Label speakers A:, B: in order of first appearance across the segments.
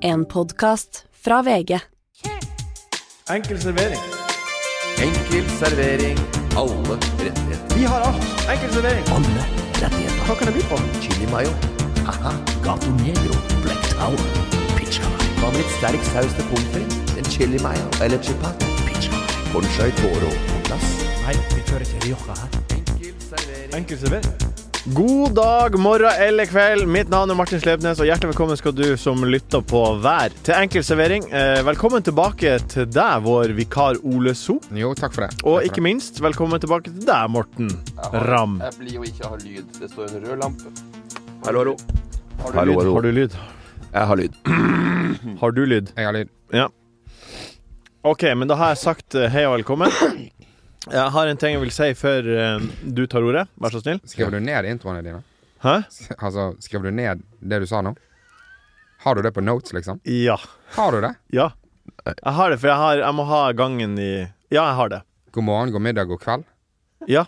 A: En podkast fra VG.
B: Enkel servering.
C: Enkel servering. Alle rettigheter.
B: Vi har alt. Enkel servering.
D: Alle rettigheter.
B: Hva kan det by på?
C: Chili mayo. Haha.
D: Gato Negro, Black Tower, Pizza Night,
C: Hva med litt sterk saus til pommes frites? En chili mayo eller chipat?
D: Pizza Night.
C: Cornchai toro på plass.
D: Nei, vi kjører til Rioja her.
C: Enkel servering.
B: Enkel servering. God dag, morgen eller kveld. Mitt navn er Martin Slepnes, og hjertelig velkommen skal du som lytter på hver til Enkel servering. Eh, Velkommen tilbake til deg, vår vikar Ole So.
E: Jo, takk for det.
B: Og ikke minst, velkommen tilbake til deg, Morten Ramm.
F: Jeg blir jo ikke av lyd. Det står en rød lampe.
C: Hallo, hallo.
F: Har du
C: Hallo,
F: lyd?
C: hallo.
B: Har du lyd?
C: Jeg har lyd.
B: Har du lyd?
E: Jeg har lyd.
B: Ja. OK, men da har jeg sagt eh, hei og velkommen. Jeg har en ting jeg vil si før eh, du tar ordet. Vær så snill.
E: Skrev du ned introene dine?
B: Hæ?
E: S- Altså, skrev du ned det du sa nå? Har du det på notes, liksom?
B: Ja.
E: Har du det?
B: Ja. Jeg har det, for jeg, har, jeg må ha gangen i Ja, jeg har det.
E: God morgen, god middag, god kveld.
B: Ja.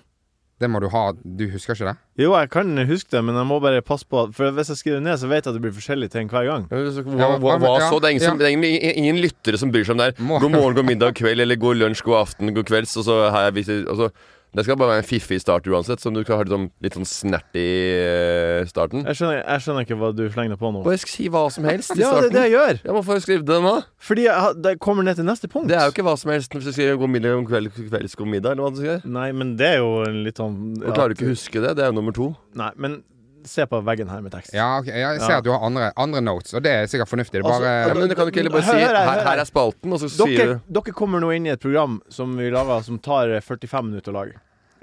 E: Det må du ha. Du husker ikke det?
B: Jo, jeg kan huske det, men jeg må bare passe på at- For hvis jeg skriver det ned, så vet jeg at det blir forskjellige ting hver gang.
C: Hva, hva, hva så? Det er, ingen, som, det er ingen, ingen lyttere som bryr seg om det her. God morgen, god middag, kveld eller god lunsj, god aften, god kvelds. Og så her er vi, og så, det skal bare være en fiffig start uansett, som du skal ha litt sånn, litt sånn snerty eh, starten.
B: Jeg skjønner, jeg skjønner ikke hva du slenger på nå.
C: Og jeg skal si hva som helst i
B: Ja, det er
C: starten.
B: det jeg gjør!
C: Ja, Hvorfor skrive det nå?
B: Fordi jeg, har- det kommer ned til neste punkt.
C: Det er jo ikke hva som helst hvis du skriver god middag, god kveld, god kvelds, god middag, eller hva du skriver.
B: Nei, men det er jo en litt sånn
C: Og klarer du ikke å huske det? Det er jo nummer to.
B: Nei, men se på veggen her med tekst.
E: Ja, ok, jeg ser
B: Ja. Altså,
E: at du har andre, andre notes, og det er sikkert fornuftig. Det er bare
C: ja, men du kan jo ikke heller bare si
B: Hør her, hør
C: her,
B: her.
C: her er spalten, og så sier
B: Dere,
C: du
B: dere kommer nå inn i et program som vi lager som tar eh, 45 minutter å lage.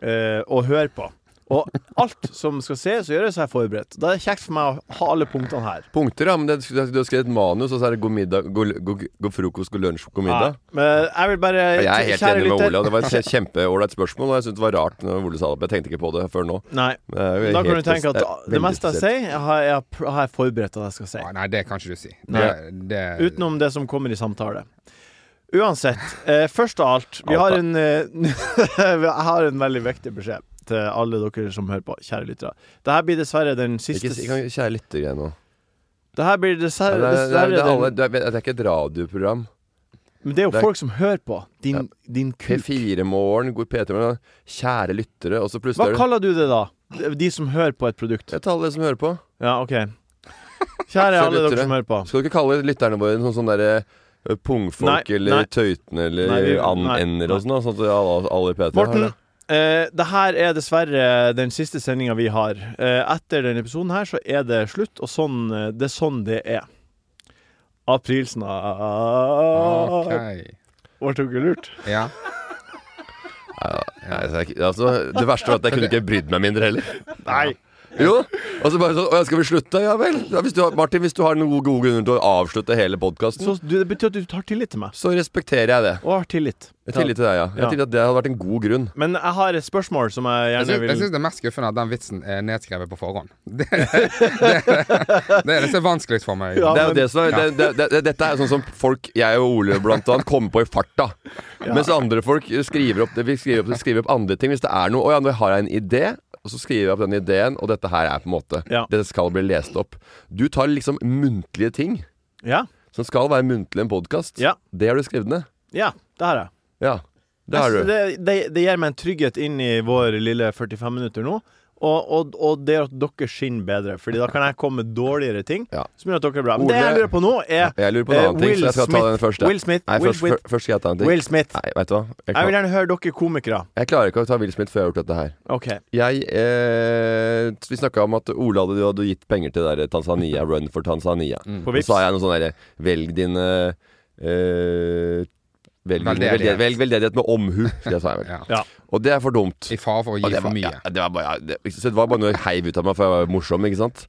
B: Eh, og høre på. Og alt som skal ses og gjøres, er forberedt. Da er det kjekt for meg å ha alle punktene her.
C: punkter, ja. Men det, du har skrevet et manus, og så er det god middag, god, god, god frokost, god lunsj, god middag.
B: Ja, men jeg vil bare
C: Ja, Jeg er helt
B: kjære
C: enig med
B: lytter-
C: Ole. og Det var et kje- kjempeålreit spørsmål, og jeg syns det var rart når Ole sa det. men Jeg tenkte ikke på det før nå.
B: Nei.
C: Men jeg er jo
B: Da kan
C: helt-
B: du tenke at
C: jeg er
B: det
C: veldig
B: meste jeg
C: interessert.
B: sier, jeg har jeg, pr- har jeg forberedt at jeg skal si.
E: Ah, Nei, det kan ikke du si. Det,
B: Nei.
E: det,
B: Utenom det som kommer i samtale. Uansett, eh, først av alt Vi har en eh, Jeg har en veldig viktig beskjed til alle dere som hører på, kjære lyttere. Dette blir dessverre den siste
C: Ikke si- kan- Kjære lyttergreie nå.
B: Dette blir
C: Det
B: dessverre,
C: er, det, er, det, er alle,
B: dessverre den,
C: det, er, det er ikke et radioprogram.
B: Men det er
C: det
B: jo
C: er-
B: folk som hører på.
C: Ja.
B: Din, din kuk.
C: P4-morgen, god P3-morgen, kjære lyttere, og så
B: Hva
C: plutselig er det
B: kaller du det da? De som hører på et produkt?
C: Jeg tar alle dere som hører på.
B: Ja, OK. Kjære alle
C: lyttere.
B: dere som hører på.
C: Skal du ikke kalle lytterne våre sånn sånn derre eh, Pungfolk
B: Nei, nei.
C: eller tøytene eller
B: Nei, vi- nei,
C: and-ender og sånn, da, sånn at alle, alle i P3
B: Morten,
C: har det.
B: eh, det her er dessverre den siste sendinga vi har. Eh, etter denne episoden her så er det slutt, og sånn, eh, det er sånn det er. ah, Aprilsnarr
E: Ok.
B: ah, Ble det ikke lurt?
E: Ja.
C: Nei, så jeg, altså, det verste var at jeg kunne ikke brydd meg mindre heller.
B: Nei.
C: Jo, og så bare sånn «Å, ja, Skal vi slutte? Ja vel. Ja, hvis du har, Martin, hvis du har noen gode grunner til å avslutte hele podkasten, så,
B: Så du, det betyr at du tar tillit til meg.
C: respekterer jeg det.
B: Og har tillit.
C: Jeg har tillit til deg, ja. Jeg
B: Ja.
C: har tillit til at det hadde vært en god grunn.
B: Men jeg har et spørsmål som jeg
E: Jeg
B: gjerne
E: syns,
B: vil
E: jeg syns det er mest skuffende at den vitsen er nedskrevet på forhånd. Det, det, det er det som er vanskeligst for meg.
B: Ja,
C: Det er
B: men-
C: jo det som er, det, det, det, dette er jo sånn som folk, jeg og Ole blant annet, kommer på i farta. Mens andre folk skriver opp, det- vi skriver, opp, skriver opp andre ting. Hvis det er noe Å ja, nå har jeg en idé. Og så skriver jeg opp den ideen, og dette her er på en måte
B: Ja.
C: Det skal bli lest opp. Du tar liksom muntlige ting,
B: Ja.
C: som skal være muntlig i en podkast.
B: Ja.
C: Det har du skrevet ned.
B: ja, det har jeg.
C: Ja. Det har
B: Jeg
C: du.
B: synes Det, det, det gir meg en trygghet inn i vår lille 45 minutter nå. Og, og, og det at dere skinner bedre, Fordi da kan jeg komme med dårligere ting.
C: Ja.
B: Som gjør at dere er bra Men det
C: Ole-
B: jeg lurer på nå, er
C: Jeg lurer på en
B: eh,
C: annen ting,
B: Will
C: så jeg skal ta
B: Smith.
C: den først. jeg.
B: Will Smith.
C: Nei,
B: Will
C: først,
B: Smith.
C: før- først skal jeg ta en ting.
B: Will Smith.
C: Nei, vet du hva? Jeg,
B: Jeg vil
C: kan,
B: gjerne høre dere komikere.
C: jeg klarer ikke å ta Will Smith før jeg har gjort dette her.
B: Ok
C: Jeg, eh, vi snakka om at Ole hadde, du hadde gitt penger til det der Tanzania, Run for Tanzania.
B: På
C: Så
B: Vipps.
C: sa jeg noe sånn derre Velg din eh, eh, Velg
E: Veldedighet.
C: veldedighet. Velg veldedighet med omhu. Det sa jeg vel.
E: Ja.
B: Ja.
C: Og det er for dumt.
E: I fare for å
C: Og
E: gi
C: det var-
E: for mye.
C: Ja, det, var bare, ja, det, så det var bare noe jeg heiv ut av meg, for jeg var morsom, ikke sant.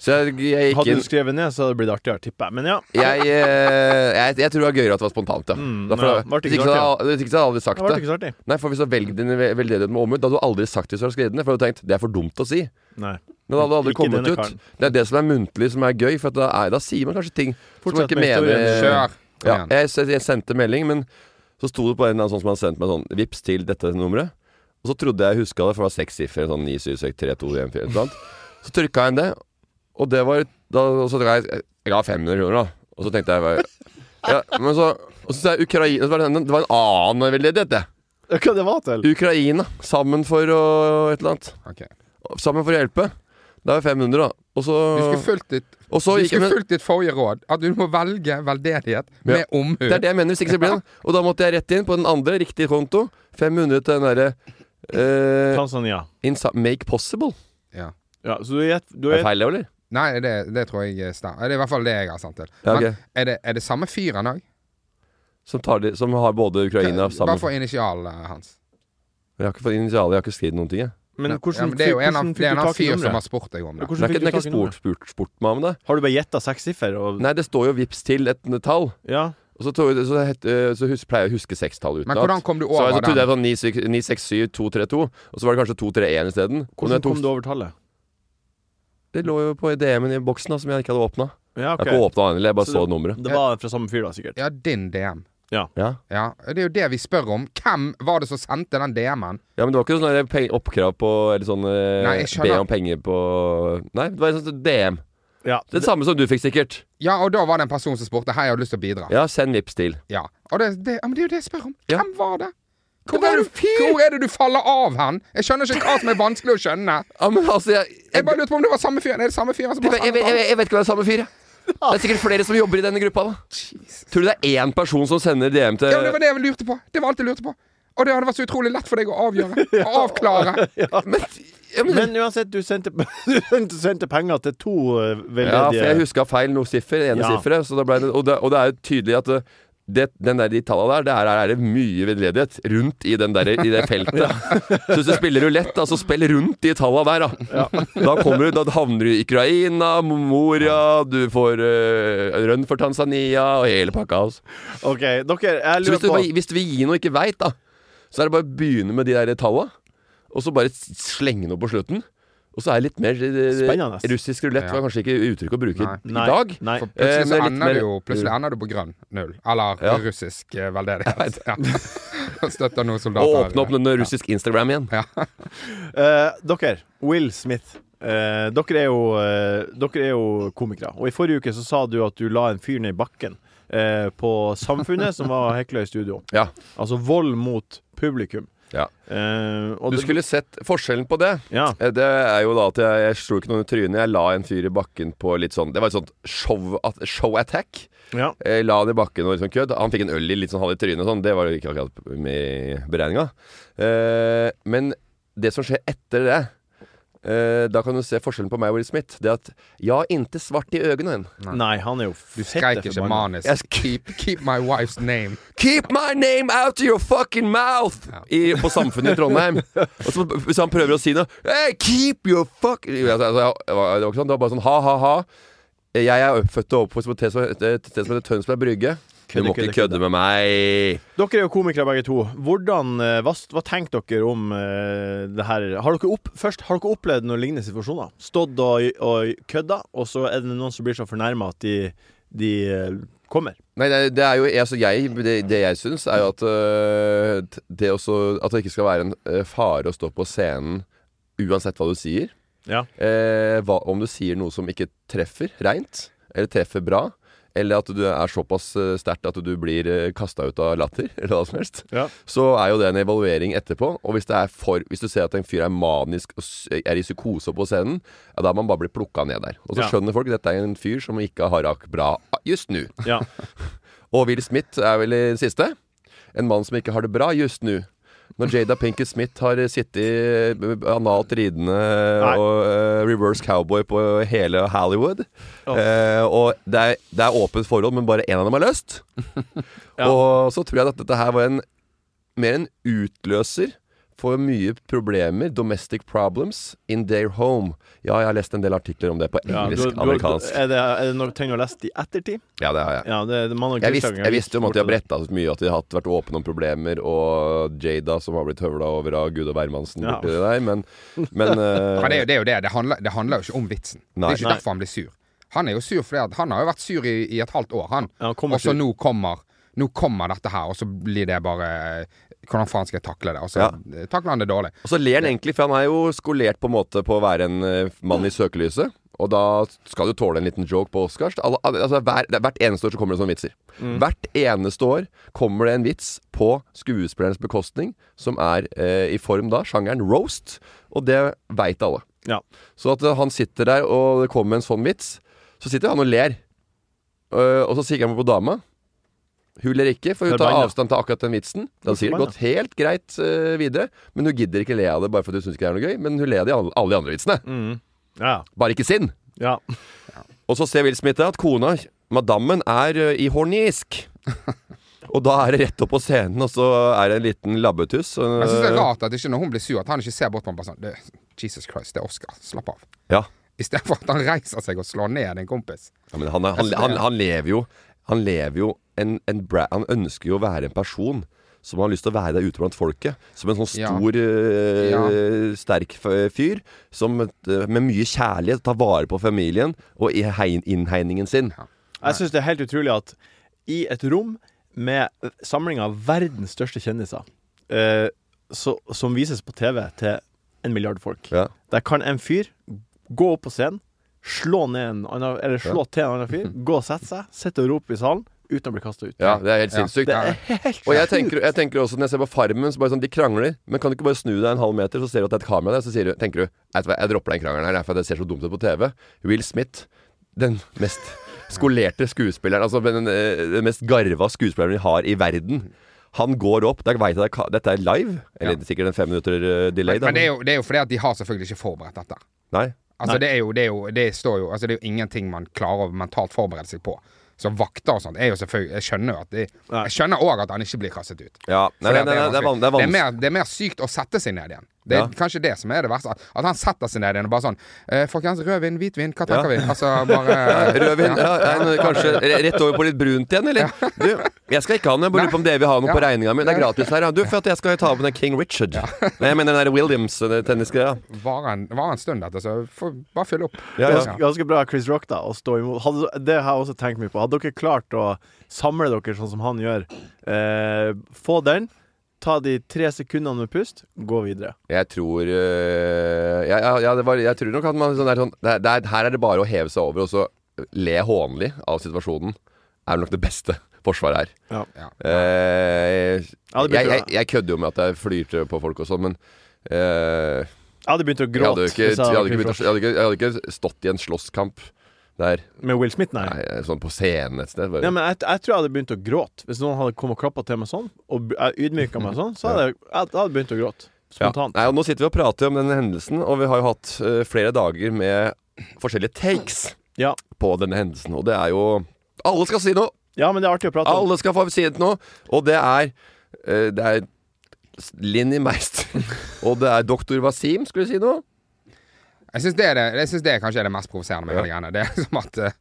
C: Så jeg, jeg gikk
B: Hadde
C: inn
B: du skrevet ned, så hadde det blitt artigere, tipper jeg. Men ja.
C: jeg, eh, jeg, jeg tror det var gøyere at det var spontant, ja.
B: Mm,
C: Derfor,
B: ja, var det ikke
C: hvis ikke så
B: artig,
C: hadde- hvis ikke så hadde jeg aldri
B: Det
C: sagt
B: ble
C: det.
B: ikke så artig.
C: Nei, for hvis du hadde velg din ve- veldedighet med omhu, da hadde du aldri sagt det hvis du hadde skrevet den. For da hadde du tenkt det er for dumt å si.
B: Nei.
C: Men da hadde det aldri
B: Ikke
C: kommet
B: denne
C: ut.
B: karen.
C: Det er det som er muntlig som er gøy, for at da, er, da sier man kanskje ting som man
B: Fortsett
C: ikke
B: med historien.
C: mener.
E: Kjør. Kom
C: Ja,
E: igjen.
C: jeg, s- jeg sendte melding, men så sto det på en eller annen sånn som han sendte meg sånn Vips til dette nummeret. Og så trodde jeg jeg huska det, for det var seks siffer. Sånn 97632141. Så trykka jeg inn det, og det var da, og så, trykket jeg, jeg ga 500 kroner, da. Og så tenkte jeg bare, ja, men så, Og så sa jeg Ukraina så var det, sånn, det var en annen veldedighet, det.
B: Hva det var til?
C: Ukraina. Sammen for å et eller annet.
E: Ok.
C: Sammen for å hjelpe. Det er 500, da. Og så
E: Du skulle fulgt ditt,
C: og så
E: du
C: gikk jeg
E: skulle
C: med,
E: fulgt ditt forrige råd. At du må velge veldedighet med omhu.
C: Det er det jeg mener. Hvis ikke så blir det Og da måtte jeg rett inn på den andre, riktig konto. 500 til den derre eh,
B: Tanzania.
C: insa- Make possible.
E: Ja.
B: Ja, så du gjett du
C: Er det
B: gjett-
C: feil, det, eller?
E: Nei, det, det tror jeg stemmer. Det er i hvert fall det jeg har sendt til.
C: Ja, ok.
E: Men er det, er det samme fyren òg?
C: Som, tar de, som har både Ukraina
E: Bare
C: sammen
E: for initialene hans.
C: Jeg har ikke fått initialer, jeg har ikke skrevet noen ting. Jeg.
B: Men
E: Ja,
B: hvordan,
E: men det er jo
B: fikk-
E: en, av,
B: hvordan fikk
E: det
B: du
E: er en annen
B: tak i
E: fyr som har
B: nummeret?
E: spurt deg om det.
C: Det
B: Hvordan
C: er
B: fikk
C: ikke,
B: du
C: det er
B: tak
C: ikke
B: i
C: spurt,
B: nummeret?
C: spurt, spurt meg om det.
B: Har du bare gjetta seks siffer? Og...
C: Nei, det står jo vips til et tall.
B: Ja.
C: Og så, tror jeg, så, het, eh, så hus, pleier jeg å huske sekstallet utenat.
E: Men hvordan kom du
C: Så
E: over
C: jeg så trodde jeg
E: den?
C: det var 9, 6, 9, 6, 7, 2, 3, 2 Og så var det kanskje 2, 3, 1 isteden Og når
B: Hvordan
C: jeg tok-
B: kom du over tallet?
C: Det lå jo på DM-en i boksen da, som jeg ikke hadde åpnet
B: Ja,
C: Jeg har ikke åpnet den, eller jeg bare
B: Så
C: så, nummeret
B: Det var fra samme fyr, da, sikkert.
E: Ja, din DM.
C: ja.
E: Ja, Det er jo det vi spør om. Hvem var det som sendte den DM-en?
C: ja, men det var ikke sånn der peng- oppkrav på Eller sånn eh,
E: Nei, jeg skjønner.
C: Be om penger på Nei, det var en sånn DM
B: Ja.
C: Det samme som du fikk sikkert
E: Ja, og da var det en person som spurte Hei, jeg har lyst til å bidra.
C: Ja, send vips til
E: Ja, og det, det, ja, men det er jo det jeg spør om.
C: Ja.
E: Hvem var det? Hvor
C: var
E: er,
C: jo
E: det, du, hvor er det du faller av hen? Jeg skjønner ikke hva som er vanskelig å skjønne.
C: Ja, men altså Jeg, jeg,
E: Jeg bare lurte på om det var samme fyren. Er det samme fyren som
C: jeg,
E: bare
C: jeg, jeg, jeg vet ikke om det er samme fyr jeg. Det er sikkert flere som jobber i denne gruppa da
E: Jesus.
C: Tror du det er én person som sender DM til
E: Ja, men det var det jeg lurte på. Det var alt jeg lurte på. Og det hadde vært så utrolig lett for deg å avgjøre. Å avklare.
C: Men, ja, men,
B: Men uansett, du sendte, du sendte penger til to eh,
C: Ja, for jeg
B: veldedige
C: huska feil noe siffer, ene
B: Ja.
C: sifferet. så da ble det- Og, det- og det er jo tydelig at uh, det, den der, de tallene der, det her er det mye veldedighet rundt i, den der, i det feltet. Så hvis du spiller rulett, da, så spill rundt de tallene der, da. Da, kommer du, da havner du i Ukraina, Moria, du får uh, rønn for Tanzania og hele pakka. Altså.
B: OK, dere, jeg
C: Så hvis
B: lurer
C: du,
B: på
C: bare- hvis du vil gi noe du ikke veit, da, så er det bare å begynne med de der tallene, og så bare s- slenge noe på slutten. Og så er det litt mer eh,
B: Spennende.
C: Russisk rulett
E: Ja.
C: var kanskje ikke uttrykk å bruke i
B: Nei,
C: dag.
B: Nei.
E: For
C: Eh,
E: plutselig
C: men
E: så
C: litt
E: ender
C: mer-
E: du jo Plutselig ender du på grønn null. Eller
C: Ja.
E: russisk eh, veldedighet. Ja. Støtter noen
C: Og
E: soldater.
C: åpne opp den russiske Instagram igjen.
B: Eh, dere, Will Smith. eh, dere, er jo, eh, dere er jo komikere. Og i forrige uke så sa du at du la en fyr ned i bakken eh, på Samfunnet, som var hekla i studio.
C: Ja.
B: Altså vold mot publikum.
C: Ja.
B: Eh, og
C: Du
B: det-
C: skulle sett forskjellen på det.
B: Ja.
C: Eh, Det er jo da at jeg, jeg slo ikke noen i trynet. Jeg la en fyr i bakken på litt sånn Det var et sånt show, at- show attack.
B: ja.
C: Jeg la han i bakken og liksom kødd. Han fikk en øl i litt sånn halv i trynet og sånn. Det var jo ikke akkurat med i beregninga. Eh, men det som skjer etter det eh, Da kan du se forskjellen på meg og Will Smith. Det er at Ja, inte svart i øynene.
B: Nei, han er jo
E: Du
B: fette
E: skreik ikke
B: forbanna.
E: manisk.
C: Jeg sk-
E: keep, keep my wife's name.
C: Keep my name out of your fucking mouth! I, på Samfunnet i Trondheim. Og så, hvis han prøver å si noe hey, Keep your fuck altså, altså, jeg- Det var ikke sånn, det var bare sånn ha-ha-ha. Jeg er oppfødt og oppvokst på et sted som et sted som heter Tønsberg Brygge. Du må
B: kødde,
C: ikke kødde med meg!
B: Dere er jo komikere begge to. Hvordan, eh, hva, hva tenker dere om eh, det her? Har dere, opp, først, har dere opplevd noen lignende situasjoner? Stått og, og kødda, og så er det noen som blir så fornærma at de, de eh, kommer?
C: Nei, det, det er jo altså jeg, det, det jeg syns, er jo at øh, det, også, at det ikke skal være en øh, fare å stå på scenen uansett hva du sier.
B: Ja.
C: Eh, hva, om du sier noe som ikke treffer reint, eller treffer bra, eller at du er såpass eh, sterkt at du blir eh, kasta ut av latter, eller hva som helst,
B: Ja.
C: så er jo det en evaluering etterpå. Og hvis, det er for, hvis du ser at en fyr er manisk og s- er i psykose på scenen, ja, da har man bare blitt plukka ned der. Og så
B: Ja.
C: skjønner folk at dette er en fyr som ikke har rak bra ah, just nå.
B: Ja.
C: Og Will Smith er vel i siste. En mann som ikke har det bra just nå. Når Jada Pinkett Smith har sittet eh, analt ridende og eh, reverse cowboy på hele Hollywood eh, Og det er, det er åpent forhold, men bare én av dem er løst.
B: Ja.
C: Og så tror jeg at dette her var en mer en utløser for mye problemer, domestic problems, in their home. Ja, jeg har lest en del artikler om det på
B: Ja, du-
C: engelsk,
B: du- du-
C: amerikansk.
B: Er det, er det noe ting du har lest i ettertid?
C: Ja, det har jeg.
B: Ja, det, det, man og
C: Jeg, visste-
B: Gustavsen har
C: jeg visste jo om at de har
B: borte det.
C: bretta så mye, at de har hatt- vært åpne om problemer, og Jada som har blitt høvla over av Gud og hvermannsen
B: Ja.
C: borti det der, men, men eh,
E: Men det er jo det. Er jo det. Det, handler, det handler jo ikke om vitsen.
C: Nei.
E: det er ikke
B: Nei.
E: derfor han blir sur. Han er jo sur fordi at han har jo vært sur i, i et halvt år, han.
B: Ja, han kommer
E: og så
B: sur.
E: nå kommer Nå kommer dette her, og så blir det bare eh, Hvordan faen skal jeg takle det? Og så
C: Ja.
E: takler han det dårlig.
C: Og så ler han egentlig, for han er jo skolert på en måte på å være en eh, mann i søkelyset. Og da skal du tåle en liten joke på Oscars. Alle, alle- altså, hver, det er hvert eneste år så kommer det sånne vitser. Hvert eneste år kommer det en vits på skuespillerens bekostning, som er eh, i form da sjangeren roast, og det veit alle.
B: Ja.
C: Så at eh, han sitter der, og det kommer en sånn vits, så sitter han og ler. Eh, og så kikker han på dama. Hun ler ikke, for hun tar
B: Forbanna.
C: avstand til akkurat den vitsen. Da sier det
B: Forbanna.
C: gått helt greit eh, videre, men hun gidder ikke le av det bare fordi hun syns ikke det er noe gøy. Men hun ler av de alle, alle de andre vitsene.
E: Mm.
B: Ja.
C: Bare ikke sin.
B: ja.
C: Og så ser Will Smith at kona, madammen, er ø, i hornisk. Og da er det rett opp på scenen, og så er det en liten labbetuss. og-
E: Jeg syns det er rart at ikke når hun blir sur, at han ikke ser bort på henne bare sånn «Det- Jesus Christ, det er Oscar. Slapp av.
C: Ja.
E: Istedenfor at han reiser seg og slår ned en kompis.
C: ja men han, er- han, han, han lever jo Han lever jo en, en bra, Han ønsker jo å være en person som har lyst til å være der ute blant folket. Som en sånn
E: Ja.
C: stor, ø, sterk f- fyr som ø, med mye kjærlighet tar vare på familien og i hein- innhegningen sin.
B: Jeg syns det er helt utrolig at i et rom med samling av verdens største kjendiser, eh, så, som vises på TV til en milliard folk,
C: Ja.
B: der kan en fyr gå opp på scenen, slå, ned en annen, eller slå til en annen fyr, gå og sette seg, sitte og rope i salen uten å bli kasta ut.
C: Ja, det er helt
E: Ja.
C: sinnssykt.
B: Det er helt
C: Og jeg tenker, jeg tenker også når jeg ser på Farmen, så bare sånn, de krangler. Men kan du ikke bare snu deg en halv meter, så ser du at det er et kamera der, så sier du, tenker du «Vet du hva, Jeg dropper den krangelen her, det er for at det ser så dumt ut på TV. Will Smith, den mest skolerte skuespilleren, altså den, eh, den mest garva skuespilleren vi har i verden. Han går opp. Der vet jeg det er ka- dette er live. Eller
E: Ja.
C: sikkert en fem minutter eh, delay, da.
E: Men det er jo, det er jo fordi at de har selvfølgelig ikke forberedt dette.
C: Nei.
E: Altså, det er jo, det er jo, det står jo, altså, det er jo ingenting man klarer å mentalt forberede seg på. Så vakter og sånt er jo selvfølgelig Jeg skjønner jo at de,
B: Nei.
E: Jeg skjønner òg at han ikke blir kastet ut.
C: Ja.
E: Fordi
C: Nei, nei,
E: at
C: nei, nei, det er van- det er
E: vanskelig.
C: vanskelig.
E: mer, det er mer sykt å sette seg ned igjen. Det er
C: Ja.
E: kanskje det som er det verste. At- At han setter seg ned igjen og bare sånn eh, Folkens, rødvin, hvitvin, hva tenker vi? Altså bare
C: Rødvin? Ja, nei, kanskje re- rett over på litt brunt igjen, eller? Du, jeg skal ikke ha den. Jeg bare lurer på om dere vil ha noe på
E: Ja.
C: regninga mi. Det er gratis her, ja. Du, for at jeg skal ta opp den der King Richard. Nei, jeg mener den der Williams, den tennisgreia.
E: Varer en, var en stund dette, så får- bare fyll opp.
C: Ja, ja.
B: Ganske, ganske bra av Chris Rock da å stå imot. Hadde, det har jeg også tenkt mye på. Hadde dere klart å samle dere sånn som han gjør, eh, få den, ta de tre sekundene med pust, gå videre.
C: Jeg tror øh, ja, ja, ja, det var, Jeg tror nok at man sånn, er sånn det er, det er, Her er det bare å heve seg over og så le hånlig av situasjonen. Er nok det beste forsvaret her.
B: Ja.
E: Ja.
C: Eh,
B: Ja,
C: jeg,
B: det blir bra.
C: jeg, jeg kødder jo med at jeg flyr på folk og sånn, men eh,
B: Jeg hadde begynt å
C: jeg,
B: gråte
C: hadde jo ikke,
B: hvis
C: jeg, hadde ikke
B: Chris
C: begynt, å- jeg, hadde ikke, jeg hadde ikke stått i en slåsskamp der.
B: Rock. med Will Smith, nei.
C: Nei, sånn på scenen et sted. Bare.
B: Nei, men jeg, jeg tror jeg hadde begynt å gråte hvis noen hadde kommet og klappa til meg sånn, og b- jeg ydmyka meg sånn. Så hadde jeg, jeg hadde begynt å gråte.
C: Ja.
B: Spontant.
C: Nei, og nå sitter vi og prater om den hendelsen, og vi har jo hatt eh, flere dager med forskjellige takes
B: Ja.
C: på denne hendelsen. Og det er jo Alle skal si noe!
B: ja, men det er artig å prate om.
C: Alle skal få si noe! Og det er eh, Det er Linni Meister, og det er doktor Wasim skulle si noe.
E: Jeg syns det, er det, jeg synes det er kanskje er det mest provoserende med hele greiene. Det er som at eh,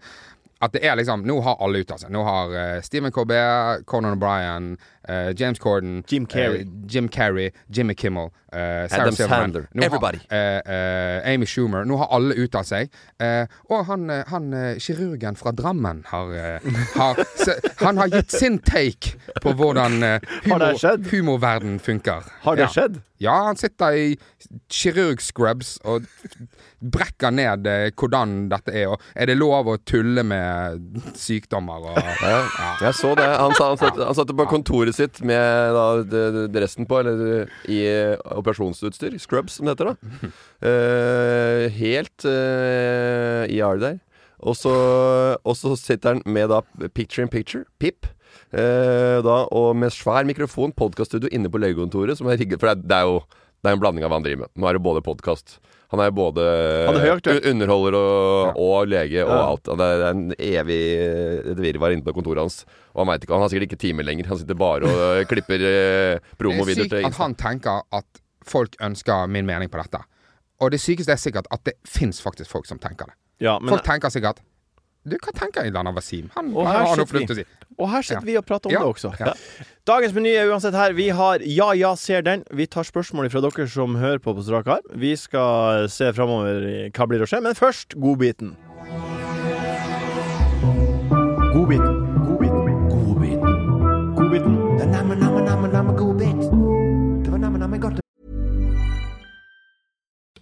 E: at det er liksom Nå har alle uttalt seg. Nå har eh, Stephen Colbert, Conan O'Brien, eh, James Corden
B: Jim Carrey.
E: eh, Jim Carrey, Jimmy Kimmel, eh, Sarah
C: Adam
E: Silverman.
C: Sandler.
E: Nå har,
C: Everybody.
E: eh, eh, Amy Schumer. Nå har alle uttalt seg. Eh, og han, eh, han eh, kirurgen fra Drammen har, eh, har se, Han har gitt sin take på hvordan eh,
B: Har det
E: humor,
B: skjedd?
E: humorverden funker.
B: Har det
E: Ja.
B: skjedd?
E: Ja, han sitter i kirurgscrubs og brekker ned eh, hvordan dette er. Og er det lov å tulle med sykdommer og ja.
C: Jeg så det. Han, sa, han, satt, han satt på kontoret sitt med da, d- d- dressen på, eller i eh, operasjonsutstyr. Scrubs, som det heter. da Eh, Helt eh, IR der. Og så, og så sitter han med da Picture in Picture, PIP. eh, da, og med svær mikrofon, podkaststudio inne på legekontoret. Som er rigget, for det er, det er jo det er en blanding av hva han driver med. Nå er det både podkast Han er både
B: Han er høyaktuell.
C: un- underholder og, og lege og
B: Ja.
C: alt. Og Det er det er en evig et virvar inne på kontoret hans. Og han vet ikke, han har sikkert ikke timer lenger. Han sitter bare og eh, klipper eh,
E: Det er
C: promovideoer
E: sykt
C: til
E: at
C: Insta.
E: han tenker at folk ønsker min mening på dette. Og det sykeste er sikkert at det fins faktisk folk som tenker det.
B: Ja, men,
E: folk tenker sikkert Du, hva tenker Ilana Wasim? Han
B: Og her
E: han har noe
B: sitter vi.
E: fornuft å si.
B: og her sitter
E: Ja.
B: vi og prater om
E: Ja.
B: det også.
E: Ja.
B: Dagens meny er uansett her. Vi har Ja, ja, ser den. Vi tar spørsmål fra dere som hører på på strak arm. Vi skal se framover i hva blir å skje, men først godbiten. Godbiten. Godbiten.
D: Godbiten.
B: Godbiten.
D: Det er namme, namme, namme, namme godbit. Det var namme, namme godt.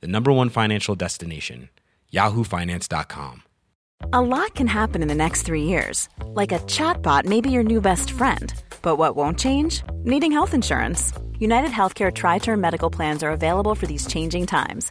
G: the number one financial destination, yahoofinance.com.
H: A lot can happen in the next three years. Like a chatbot may be your new best friend. But what won't change? Needing health insurance. United Healthcare Tri Term Medical Plans are available for these changing times.